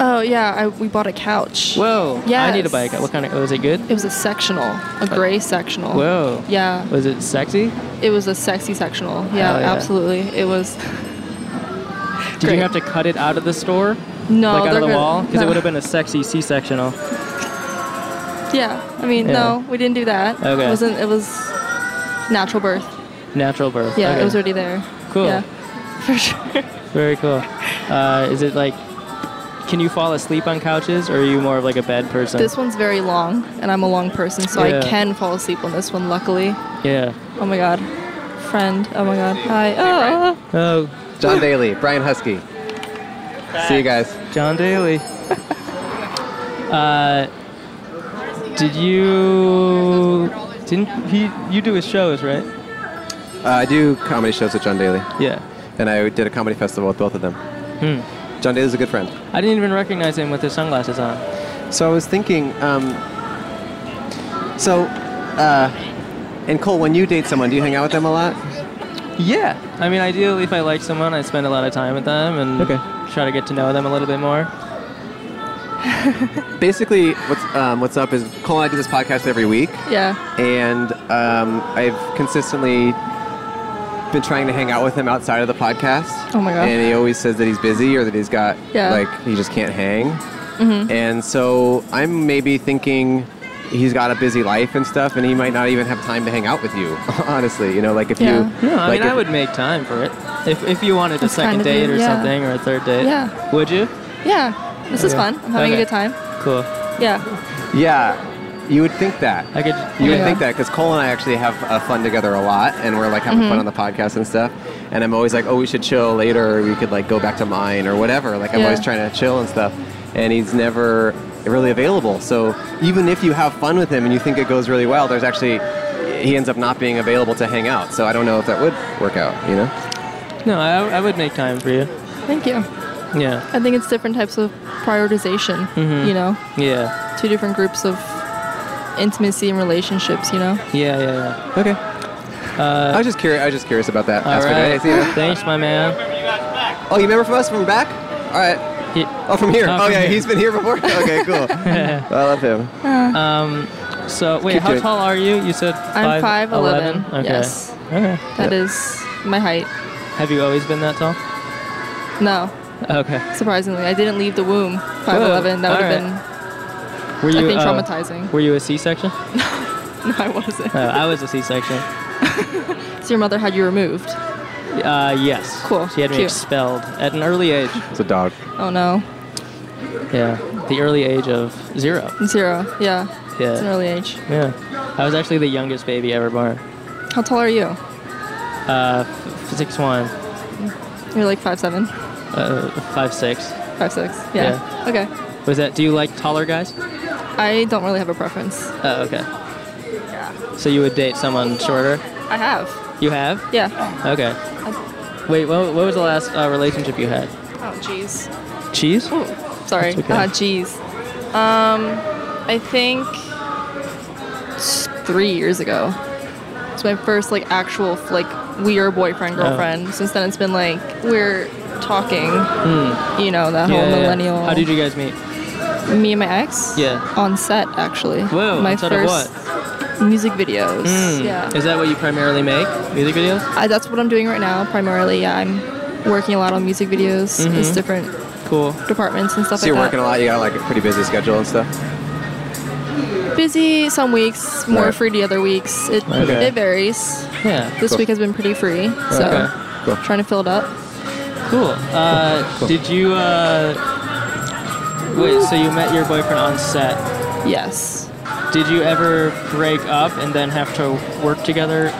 Oh yeah, I, we bought a couch. Whoa. I need a Yes. bike. What kind of? Was it good? It was a sectional, a gray sectional. Whoa. Yeah. Was it sexy? It was a sexy sectional. Yeah, Hell yeah. absolutely. It was. Did Great. you have to cut it out of the store? No, like out of they're the gonna- wall? Because no. it would have been a sexy C-sectional. Yeah, I mean, Yeah. no, we didn't do that. Okay. It wasn't. It was natural birth. Natural birth. Yeah, Okay. it was already there. Cool. Yeah, for sure. Very cool. Uh, is it like, can you fall asleep on couches, or are you more of like a bed person? This one's very long, and I'm a long person, so Yeah. I can fall asleep on this one, luckily. yeah. Oh my god. Friend. Oh my god. Hi. Oh. Oh. John Daly, Brian Husky. See you guys. John Daly. uh, did you didn't he? You do his shows, right? Uh, I do comedy shows with John Daly. Yeah. And I did a comedy festival with both of them. Hmm. John Daly's a good friend. I didn't even recognize him with his sunglasses on. So I was thinking, um, so, uh, and Cole, when you date someone, do you hang out with them a lot? Yeah. I mean, ideally, if I like someone, I spend a lot of time with them and try to get to know them a little bit more. Basically, what's, um, what's up is Cole and I do this podcast every week, Yeah. and um, I've consistently been trying to hang out with him outside of the podcast. Oh my God. And he always says that he's busy or that he's got, Yeah. like, he just can't hang. Mhm. And so I'm maybe thinking he's got a busy life and stuff, and he might not even have time to hang out with you. Honestly, you know, like if Yeah. you, No, I like mean, if- I would make time for it. If, if you wanted a second kind of date you, or yeah. something, or a third date, Yeah. would you? Yeah. This is Okay. fun. I'm having Okay. a good time. Cool. Yeah. Yeah, you would think that. I could. You would Yeah. think that because Cole and I actually have uh, fun together a lot, and we're like having Mhm. Mm-hmm. fun on the podcast and stuff. And I'm always like, oh, we should chill later. Or we could like go back to mine or whatever. Like I'm Yeah. always trying to chill and stuff. And he's never really available. So even if you have fun with him and you think it goes really well, there's actually he ends up not being available to hang out. So I don't know if that would work out. You know. No, I, I would make time for you. Thank you. Yeah. I think it's different types of prioritization, Mhm. you know? Yeah. Two different groups of intimacy and relationships, you know? Yeah, yeah, yeah. Okay. Uh, I was just curious. I was just curious about that. all That's what right. it is, yeah. Thanks, my man. Oh, you remember from us from back? All right. oh, from here. Oh, Oh, from yeah, here. he's been here before. Okay, cool. I love him. Um, so wait, Keep how doing- tall are you? You said I'm 5'11"? 5'11. Okay. Yes. Okay. That is my height. Have you always been that tall? No, Okay. surprisingly. I didn't leave the womb 5'11. That all would have Were I you think uh, traumatizing. Were you a C-section? been. No, I wasn't. Uh, I was a C-section. so your mother had you removed. Uh, yes. Cool, She had me cute. expelled at an early age. It's a dog. Oh no. Yeah, the early age of zero. Zero. Yeah. Yeah. It's an early age. Yeah, I was actually the youngest baby ever born. How tall are you? Uh, f- six one, You're like 5'7. uh, five six. 5'6. Yeah. Okay. Was that? Do you like taller guys? I don't really have a preference. Oh, okay. So you would date someone shorter? I have. You have? Yeah. Okay. Wait, what, what was the last uh, relationship you had? Oh, jeez. Cheese? Oh, Sorry. That's okay. Ah, jeez. Um, I think. s- three years ago. It's my first like actual like we are boyfriend Oh. girlfriend. Since then, it's been like we're talking. You know that Hmm. Yeah, yeah, whole yeah. millennial. How did you guys meet? Me and my ex. Yeah. On set actually. Whoa, My on set of first uh, music videos. Mm. Yeah. Is that what you primarily make? Music videos? I, that's what I'm doing right now primarily. Yeah, I'm working a lot on music videos. Mhm. It's Mm-hmm. different Cool. departments and stuff So you're like working a lot. You got like a pretty busy schedule and stuff. that. Busy some weeks, more Right. free the other weeks. It Okay. it varies. Yeah. This Cool. week has been pretty free, so Okay. Cool. trying to fill it up. Cool. Uh, Cool. Did you? Uh, wait. So you met your boyfriend on set? Yes. Did you ever break up and then have to work together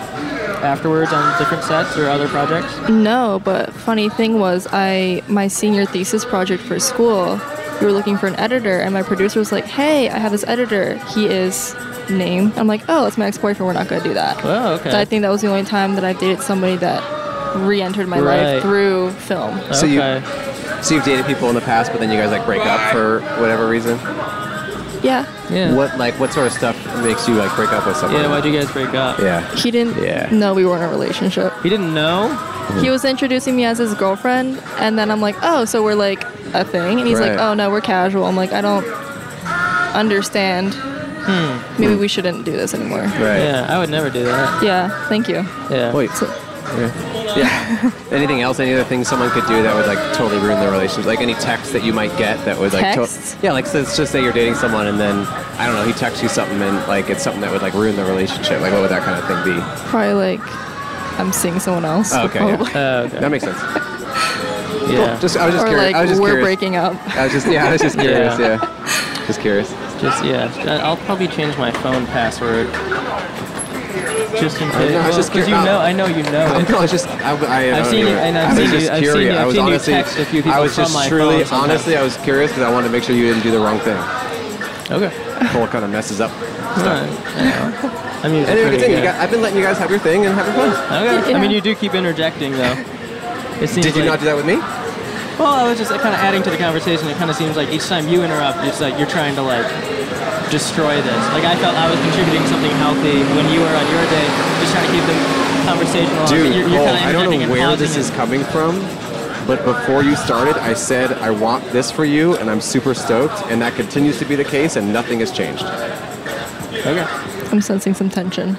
afterwards on different sets or other projects? No, but funny thing was, I my senior thesis project for school, we were looking for an editor, and my producer was like, "Hey, I have this editor. He is name." I'm like, "Oh, that's my ex-boyfriend. We're not gonna do that." Oh, okay. So I think that was the only time that I dated somebody that re-entered my Right. Uh. life through film. So you, so you've dated people in the past, but then you guys like break up for whatever reason. yeah. What like what sort of stuff makes you like break up with someone? Yeah, why'd you guys break up? Yeah. He didn't Yeah. know we were in a relationship. He didn't know. He was introducing me as his girlfriend, and then I'm like, "Oh, so we're like a thing?" And he's Right. like, "Oh no, we're casual." I'm like, "I don't understand. Maybe we shouldn't do this anymore." Yeah, I would never do that. Yeah, thank you. Yeah. Wait. Yeah. yeah. Anything else? Any other things someone could do that would like totally ruin the relationship? Like any text that you might get that would like. to- Texts? yeah, like so let's just say you're dating someone and then I don't know he texts you something and like it's something that would like ruin the relationship. Like what would that kind of thing be? Probably like I'm seeing someone else. Oh, okay. probably. Yeah. That makes sense. Yeah. Just I was just or curious. like I was just we're curious. breaking up. I was just yeah. I was just curious. Yeah. Just curious. Just yeah. I- I'll probably change my phone password. Just in I don't case. know, I Well, was just 'cause you curi- know, I know you know. it. No, I was just I, I I've don't seen even- you- and I've I was seen you- just I've seen curious. you- I've I was seen you honestly text a few I people was from just my truly phone sometimes. honestly I was curious because I wanted to make sure you didn't do the wrong thing. Okay. Cole kind of messes up. Alright. I'm usually pretty Anyway, continue. good. You guys- I've been letting you guys have your thing and have your fun. Okay. I mean, you do keep interjecting though. It seems Did you not do that with me? "Oh, Well, I was just kind of adding to the conversation. It kind of seems like each time you interrupt, it's like you're trying to like destroy this. Like I felt I was contributing something healthy when you were on your day, just trying to keep the conversation alive. Dude, you're, Cole, you're kinda I don't interjecting know and where pausing this and- is coming from, but before you started, I said I want this for you, and I'm super stoked, and that continues to be the case, and nothing has changed. Okay. I'm sensing some tension.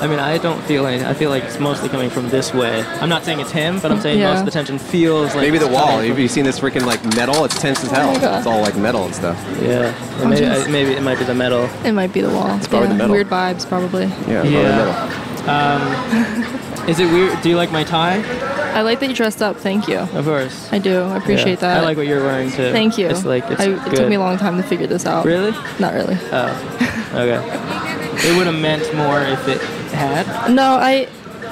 I mean, I don't feel any. I feel like it's mostly coming from this way. I'm not saying it's him, but I'm saying Yeah. most of the tension feels like Maybe the it's wall. coming Have from- Oh you seen this freaking like metal? It's tense as hell. my God. It's all like metal and stuff. Yeah, maybe, I, maybe it might be the metal. It might be the wall. It's probably the metal. Weird vibes, probably. Yeah. Um, is it weird? Do you like my tie? I like that you dressed up. Thank you. Of course. I do. I appreciate Yeah. that. I like what you're wearing too. Thank you. It's like it's I, good. It took me a long time to figure this out. Really? Not really. Oh, okay. it would have meant more if it had. No, I,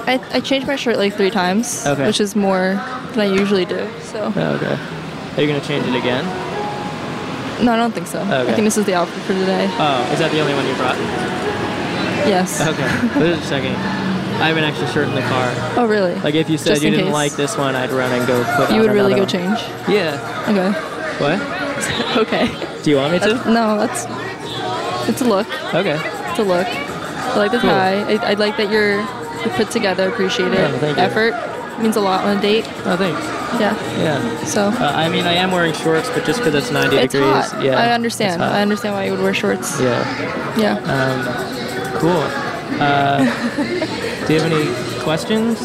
I, I changed my shirt like three times, Okay. which is more than I usually do. So Oh, okay. Are you gonna change it again? no, I don't think so. Okay. I think this is the outfit for today. Oh, is that the only one you brought? Yes. Okay. Wait a second. I have an extra shirt in the car. Oh really? Like if you said Just you in didn't case. like this one, I'd run and go put. you on would really another go one. change. Yeah. Okay. What? okay. Do you want me to? That's- no, that's. It's a look. Okay. It's a look. I like the Cool. tie. I, I like that you're you're put together. Appreciate it. Oh, thank you. Effort means a lot on a date. Oh, thanks. Yeah. Yeah. So. Uh, I mean, I am wearing shorts, but just because it's 90 It's degrees. hot. Yeah. I it's understand. hot. I understand why you would wear shorts. Yeah. Uh, Yeah. Um, cool. Uh, do you have any questions?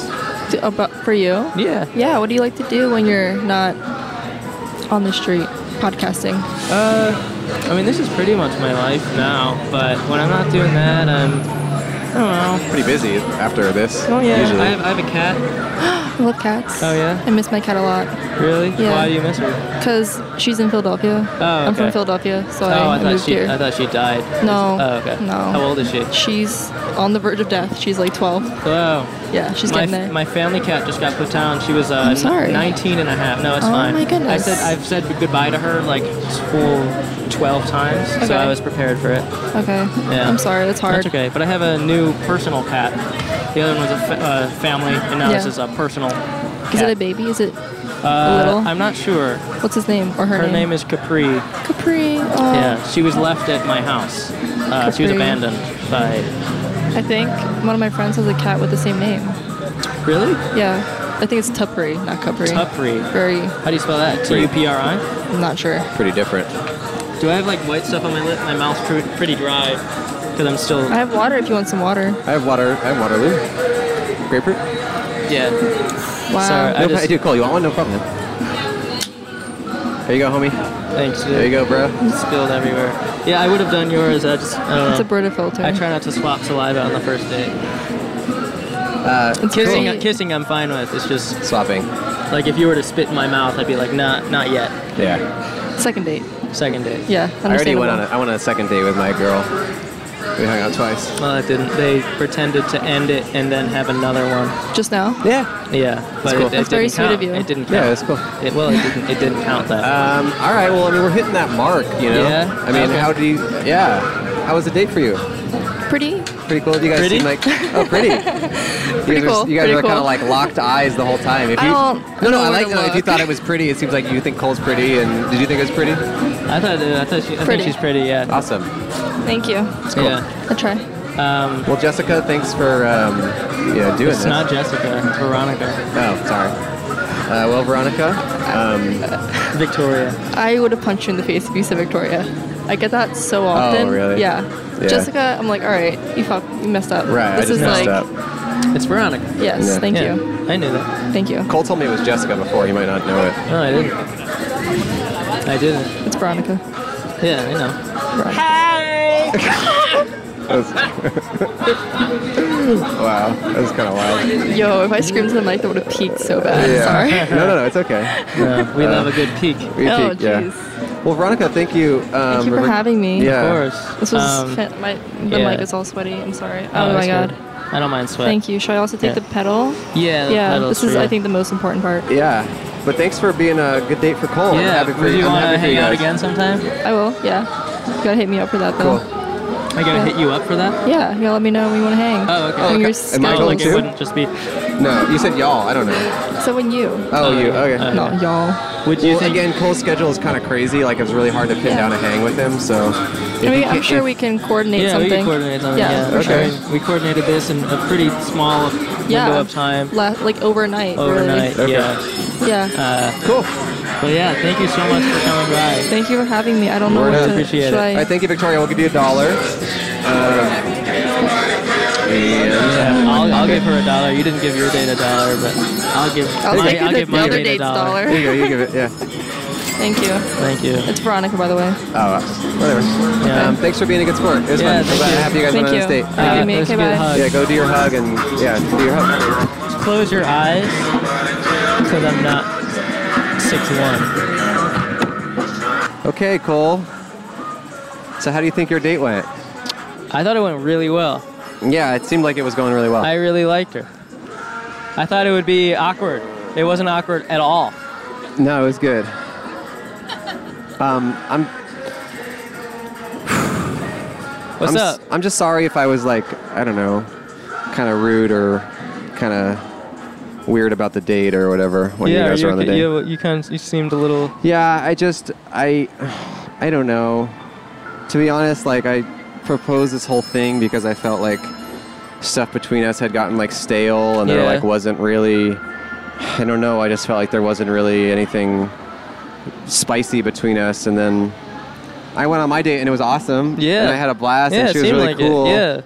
D- about for you? Yeah. Yeah. What do you like to do when you're not on the street podcasting? Uh, I mean, this is pretty much my life now, but when I'm not doing that, I'm. I don't know. Pretty busy after this. Oh, yeah. Usually. I have, I have a cat. I love cats. Oh, yeah? I miss my cat a lot Really? Yeah. Why do you miss her? because she's in Philadelphia. Oh, I'm from okay. Philadelphia, so oh, I, I, thought moved she, here. I thought she died. No. Oh, okay. No. How old is she? she's on the verge of death. She's like 12. Whoa. Yeah, she's oh, my, getting there. my family cat just got put down. She was uh, I'm sorry. 19 and a half. No, it's Oh fine. my goodness. I said I've said goodbye to her like full 12 times, Okay. so I was prepared for it. Okay. Yeah. I'm sorry. That's hard. That's okay. But I have a new personal cat. The other one was a fa- uh, family, and now this Yeah. is a personal. Is cat. it a baby? Is it? Uh, little? I'm not sure. What's his name or Oh. her, Her name is Capri. Capri. Oh, Yeah, she was left at my house. Uh, she was Capri. abandoned by. I think one of my friends has a cat with the same name. Really? Yeah. I think it's Tupri, not Capri. Capri. Very. How do you spell that? T U P R I. I'm not sure. Pretty different. Do I have like white stuff on my lip? My mouth's pretty, pretty dry because I'm still. I have water if you want some water. I have water. I have Waterloo. Grapefruit. Yeah. Wow. Sorry, I no, just. dude, Cole, you want one? No problem. Man. There you go, homie. Thanks. Dude. There you go, bro. It's spilled everywhere. Yeah, I would have done yours. I just. uh, I don't It's a know. Brita filter. I try not to swap saliva on the first date. It's Kissing, great. kissing, I'm fine with. It's just Swapping. like if you were to spit in my mouth, I'd be like, not, not yet. Yeah. Second date. Second date. Yeah. I already went on a, understandable. I went on a second date with my girl. We hung out twice. Well, it didn't. They pretended to end it and then have another one. Just now. Yeah. Yeah, but cool. it, it That's didn't very sweet count. of you. It didn't Yeah, count. that's cool. it, well, it didn't. It didn't count that. Um, all right. Well, I mean, we're hitting that mark, you know. Yeah? I mean, Okay. how do you? Yeah. How was the date for you? Pretty. Pretty cool. You guys Pretty? seem like oh, pretty. you Pretty guys cool, Are, you guys are pretty kind cool. of like locked eyes the whole time. If I you, don't- I no, no. don't I know like where no, if to you look. thought it was pretty, it seems like you think Cole's pretty. And did you think it was pretty? I thought. uh, I thought. She, I think Pretty. she's pretty. Yeah. Awesome. Thank you. cool. Yeah. I try. Um, Well, Jessica, thanks for um, yeah doing it's this. not Jessica. it's Veronica. oh, sorry. Uh, well, Veronica, um, Victoria. I would have punched you in the face if you said Victoria. I get that so often. Oh, really? Yeah. Yeah. Jessica, I'm like, all right, you fuck, you messed up. right? This I just is messed like, up. It's Veronica. yes, Yeah. thank yeah, you, I knew that. thank you. Cole told me it was Jessica before. He might not know it. No, I didn't. I didn't. It's Veronica. Yeah, I know. Veronica. wow, that was kind of wild. Yo, if I screamed to the mic, that would have peaked so bad. Sorry. No, no, no, it's okay. Yeah, we love a good peek. We Oh, peek, Uh, yeah. Well, Veronica, thank you. Um, Thank you for having me. Yeah. Um, This was fa- my, the yeah. mic is all sweaty. I'm sorry. Um, Oh, Oh, my that's god. good. I don't mind sweat. Thank you. Should I also take Yeah. the pedal? Yeah, the yeah. pedal's This is, for you. I think, the most important part. Yeah. But thanks for being a good date for Cole. I'm happy for would you I'm want to happy for hang you out guys. again sometime? I will. Yeah. You gotta hit me up for that though. I gotta hit you up for that. Yeah. You gotta let me know when you wanna hang. Oh, okay. When your Am I going schedule's- to? It wouldn't just be. No, you said y'all. I don't know. So when you. Uh, Oh, you. Okay. Not y'all. Would you well, again, Cole's schedule is kind of crazy. Like, it was really hard to pin Yeah. down a hang with him. So, if I you mean, can't- I'm sure if- we can coordinate yeah, something. we can coordinate something. Yeah. Yeah, for sure. okay. We coordinated this in a pretty small window Yeah. of time La- like overnight. overnight. Really. Yeah. Yeah. Uh, cool. But yeah, thank you so much for coming by. Thank you for having me. I don't know Word what up. to should I- All right, thank you, Victoria. We'll give you a dollar. Uh, and- Yeah, I'll, I'll give her a dollar. You didn't give your date a dollar, but I'll give I'll my, take I'll the give my other date a date's dollar. dollar. There you go. You give it. Yeah. Thank you. Thank you. It's Veronica, by the way. Oh, uh, whatever. Yeah. Um, thanks for being a good sport. It was Yeah, fun. I'm thank glad- you. happy you guys Thank went on you. this date. Thank you, Mick. that's a Okay, good bye. hug. Yeah, go do your hug and yeah, do your hug. Close your eyes, because I'm not six one. Okay, Cole. So how do you think your date went? I thought it went really well. Yeah, it seemed like it was going really well. I really liked her. I thought it would be awkward. It wasn't awkward at all. no, it was good. Um, I'm. What's I'm up? S- I'm just sorry if I was like I don't know, kind of rude or kind of weird about the date or whatever when you guys you were on the date. you, you kind of you seemed a little. Yeah, I just I I don't know. To be honest, like I proposed this whole thing because I felt like stuff between us had gotten like stale and there Yeah. like wasn't really I don't know, I just felt like there wasn't really anything spicy between us and then I went on my date and it was awesome. Yeah. And I had a blast yeah, and it she was seemed really like cool. It. Yeah.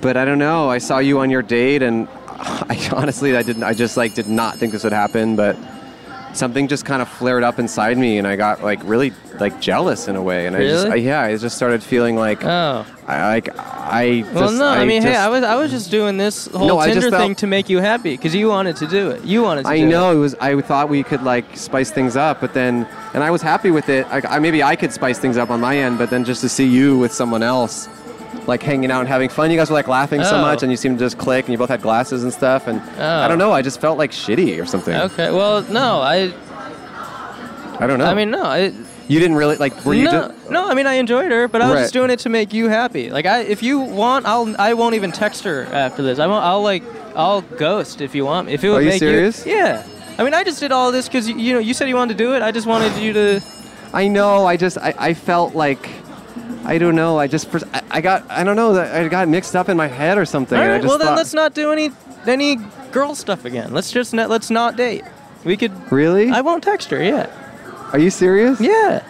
But I don't know. I saw you on your date, and I honestly, I didn't. I just like did not think this would happen, but something just kind of flared up inside me, and I got like really like jealous in a way, and I just Really? I, yeah, I just started feeling like Oh. I like I. Just, Well, no. I, mean, hey, just- I was I was just doing this whole No, I just Tinder felt- thing to make you happy because you wanted to do it. You wanted to. I do know it was. I thought we could like spice things up, but then, and I was happy with it. Like, I, maybe I could spice things up on my end, but then just to see you with someone else, like hanging out and having fun. You guys were like laughing so Oh. much, and you seemed to just click, and you both had glasses and stuff. And I Oh. don't know. I just felt like shitty or something. It. Okay. Well, no. I. I don't know. I mean, no. I, you didn't really like. Were you? no, just- no, I mean I enjoyed her, but I was Right. just doing it to make you happy. Like I, if you want, I'll I won't even text her after this. I won't. I'll like I'll ghost if you want. me. If it would Are you make serious? yeah. I mean I just did all this because you, you know you said you wanted to do it. I just wanted you to. I know. I just. I, I felt like. I don't know. I just. pers- I, I got. I don't know. that I got mixed up in my head or something. All and I right. just Well then thought- let's not do any any girl stuff again. Let's just not, let's not date. We could. Really? I won't text her. Yeah. Are you serious? Yeah.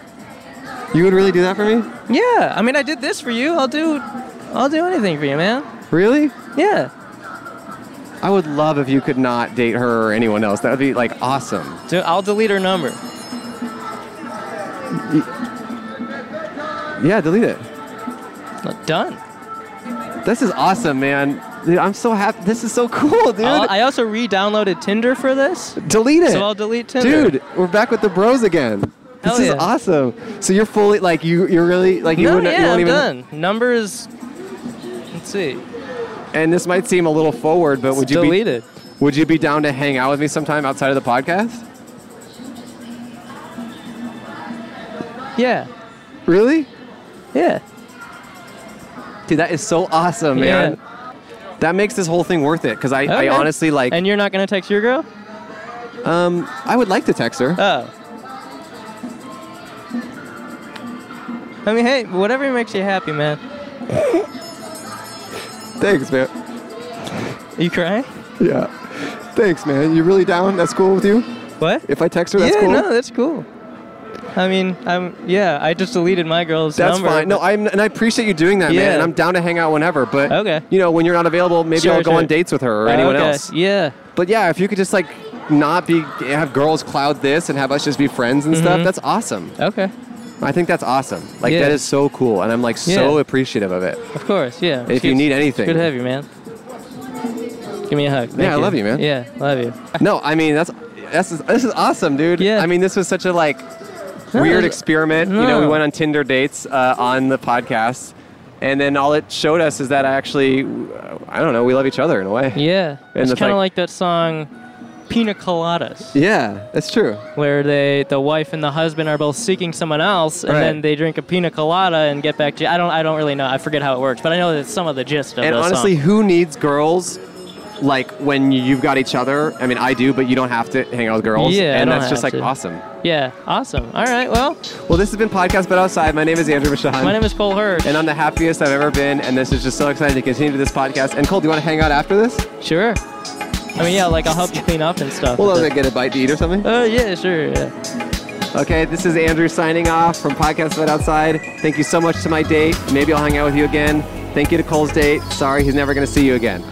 You would really do that for me? Yeah. I mean I did this for you. I'll do I'll do anything for you, man. Really? Yeah. I would love if you could not date her or anyone else. That would be like awesome. Do, I'll delete her number. Yeah, delete it. Done. This is awesome, man. Dude, I'm so happy. This is so cool, dude. I'll- I also re-downloaded Tinder for this. delete it. So I'll delete Tinder. Dude, we're back with the bros again. This Hell is yeah. awesome. So you're fully like you. You're really like you. no, wouldn't, yeah, you won't I'm even, done. Numbers. Let's see. And this might seem a little forward, but would It's you be, deleted. Would you be down to hang out with me sometime outside of the podcast? Yeah. Really? Yeah. Dude, that is so awesome, Yeah. man. That makes this whole thing worth it because I, Okay. I honestly like. And you're not gonna text your girl? um, I would like to text her. Oh. I mean, hey, whatever makes you happy, man. Thanks, man. Are you crying? Yeah. Thanks, man. You really down? That's cool with you? What? If I text her, that's yeah, cool. no, that's cool. I mean, I'm yeah. I just deleted my girl's that's number. fine. No, but- I'm and I appreciate you doing that, man. Yeah. And I'm down to hang out whenever. But Okay. you know, when you're not available, maybe Sure, I'll go sure. on dates with her or Oh, anyone okay. else. Yeah. But yeah, if you could just like not be have girls cloud this and have us just be friends and stuff, Mhm. that's awesome. Okay. I think that's awesome. Like Yeah. that is so cool, and I'm like so Yeah. appreciative of it. Of course, yeah. If you It's- need it's anything. Good to have you, man. Give me a hug. Thank yeah, I love you, man. Yeah, love you. no, I mean that's that's this is awesome, dude. Yeah. I mean this was such a like No, weird it- experiment. You know, we no. went on Tinder dates uh, on the podcast, and then all it showed us is that actually, uh, I don't know, we love each other in a way. Yeah, And it's it's kind of like- like that song, Pina Coladas. Yeah, that's true. Where they, the wife and the husband are both seeking someone else, and Right. then they drink a pina colada and get back to. I don't, I don't really know. I forget how it works, but I know that some of the gist of And the honestly, song. who needs girls? Like when you've got each other. I mean, I do, but you don't have to hang out with girls. Yeah, I and don't that's just have like to. awesome. Yeah, awesome. All right, well, Well, this has been podcast, but outside. My name is Andrew Bashan. my name is Cole Hirsch. and I'm the happiest I've ever been. And this is just so exciting to continue this podcast. And Cole, do you want to hang out after this? Sure. I mean, yeah, like I'll help you clean up and stuff. Well, I was like, get a bite to eat or something. Uh, yeah, sure. Yeah. Okay, this is Andrew signing off from Podcast But Outside. Thank you so much to my date. Maybe I'll hang out with you again. Thank you to Cole's date. Sorry, he's never going to see you again.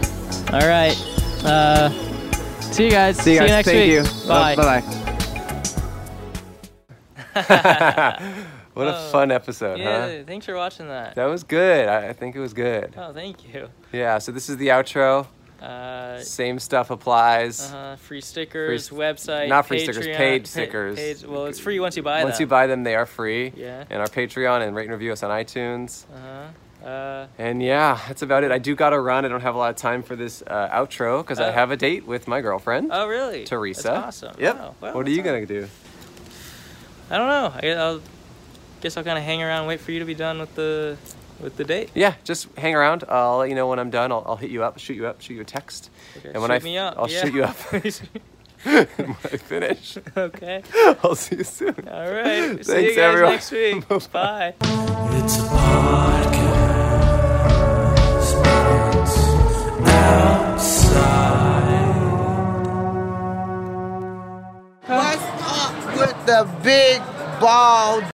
All right. Uh, see you guys. See you guys. next Thank week. you. Bye. Bye. what a fun episode, huh? Yeah, thanks for watching that. That was good. I, I think it was good. Oh, thank you. Yeah, so this is the outro. Uh, Same stuff applies. uh, free stickers, Free- website. not free Patreon, stickers, paid pa- stickers. page- well, it's free once you buy Once them. you buy them, they are free. Yeah. And our Patreon and rate and review us on iTunes. uh-huh. Uh, And yeah, that's about it. I do gotta run. I don't have a lot of time for this uh, outro because I Oh. have a date with my girlfriend, oh, really? Teresa. That's awesome. Yep. Wow. Well, what are that's you gonna do? I don't know. I, I'll guess I'll kind of hang around, and wait for you to be done with the with the date. Yeah, just hang around. I'll let you know when I'm done. I'll, I'll hit you up, shoot you up, shoot you a text. and when shoot I f- me up, I'll yeah. shoot you up. when I finish. Okay. I'll see you soon. All right. Thanks, See you guys everyone. next week. Bye. It's a podcast, but outside. What's up with the big ball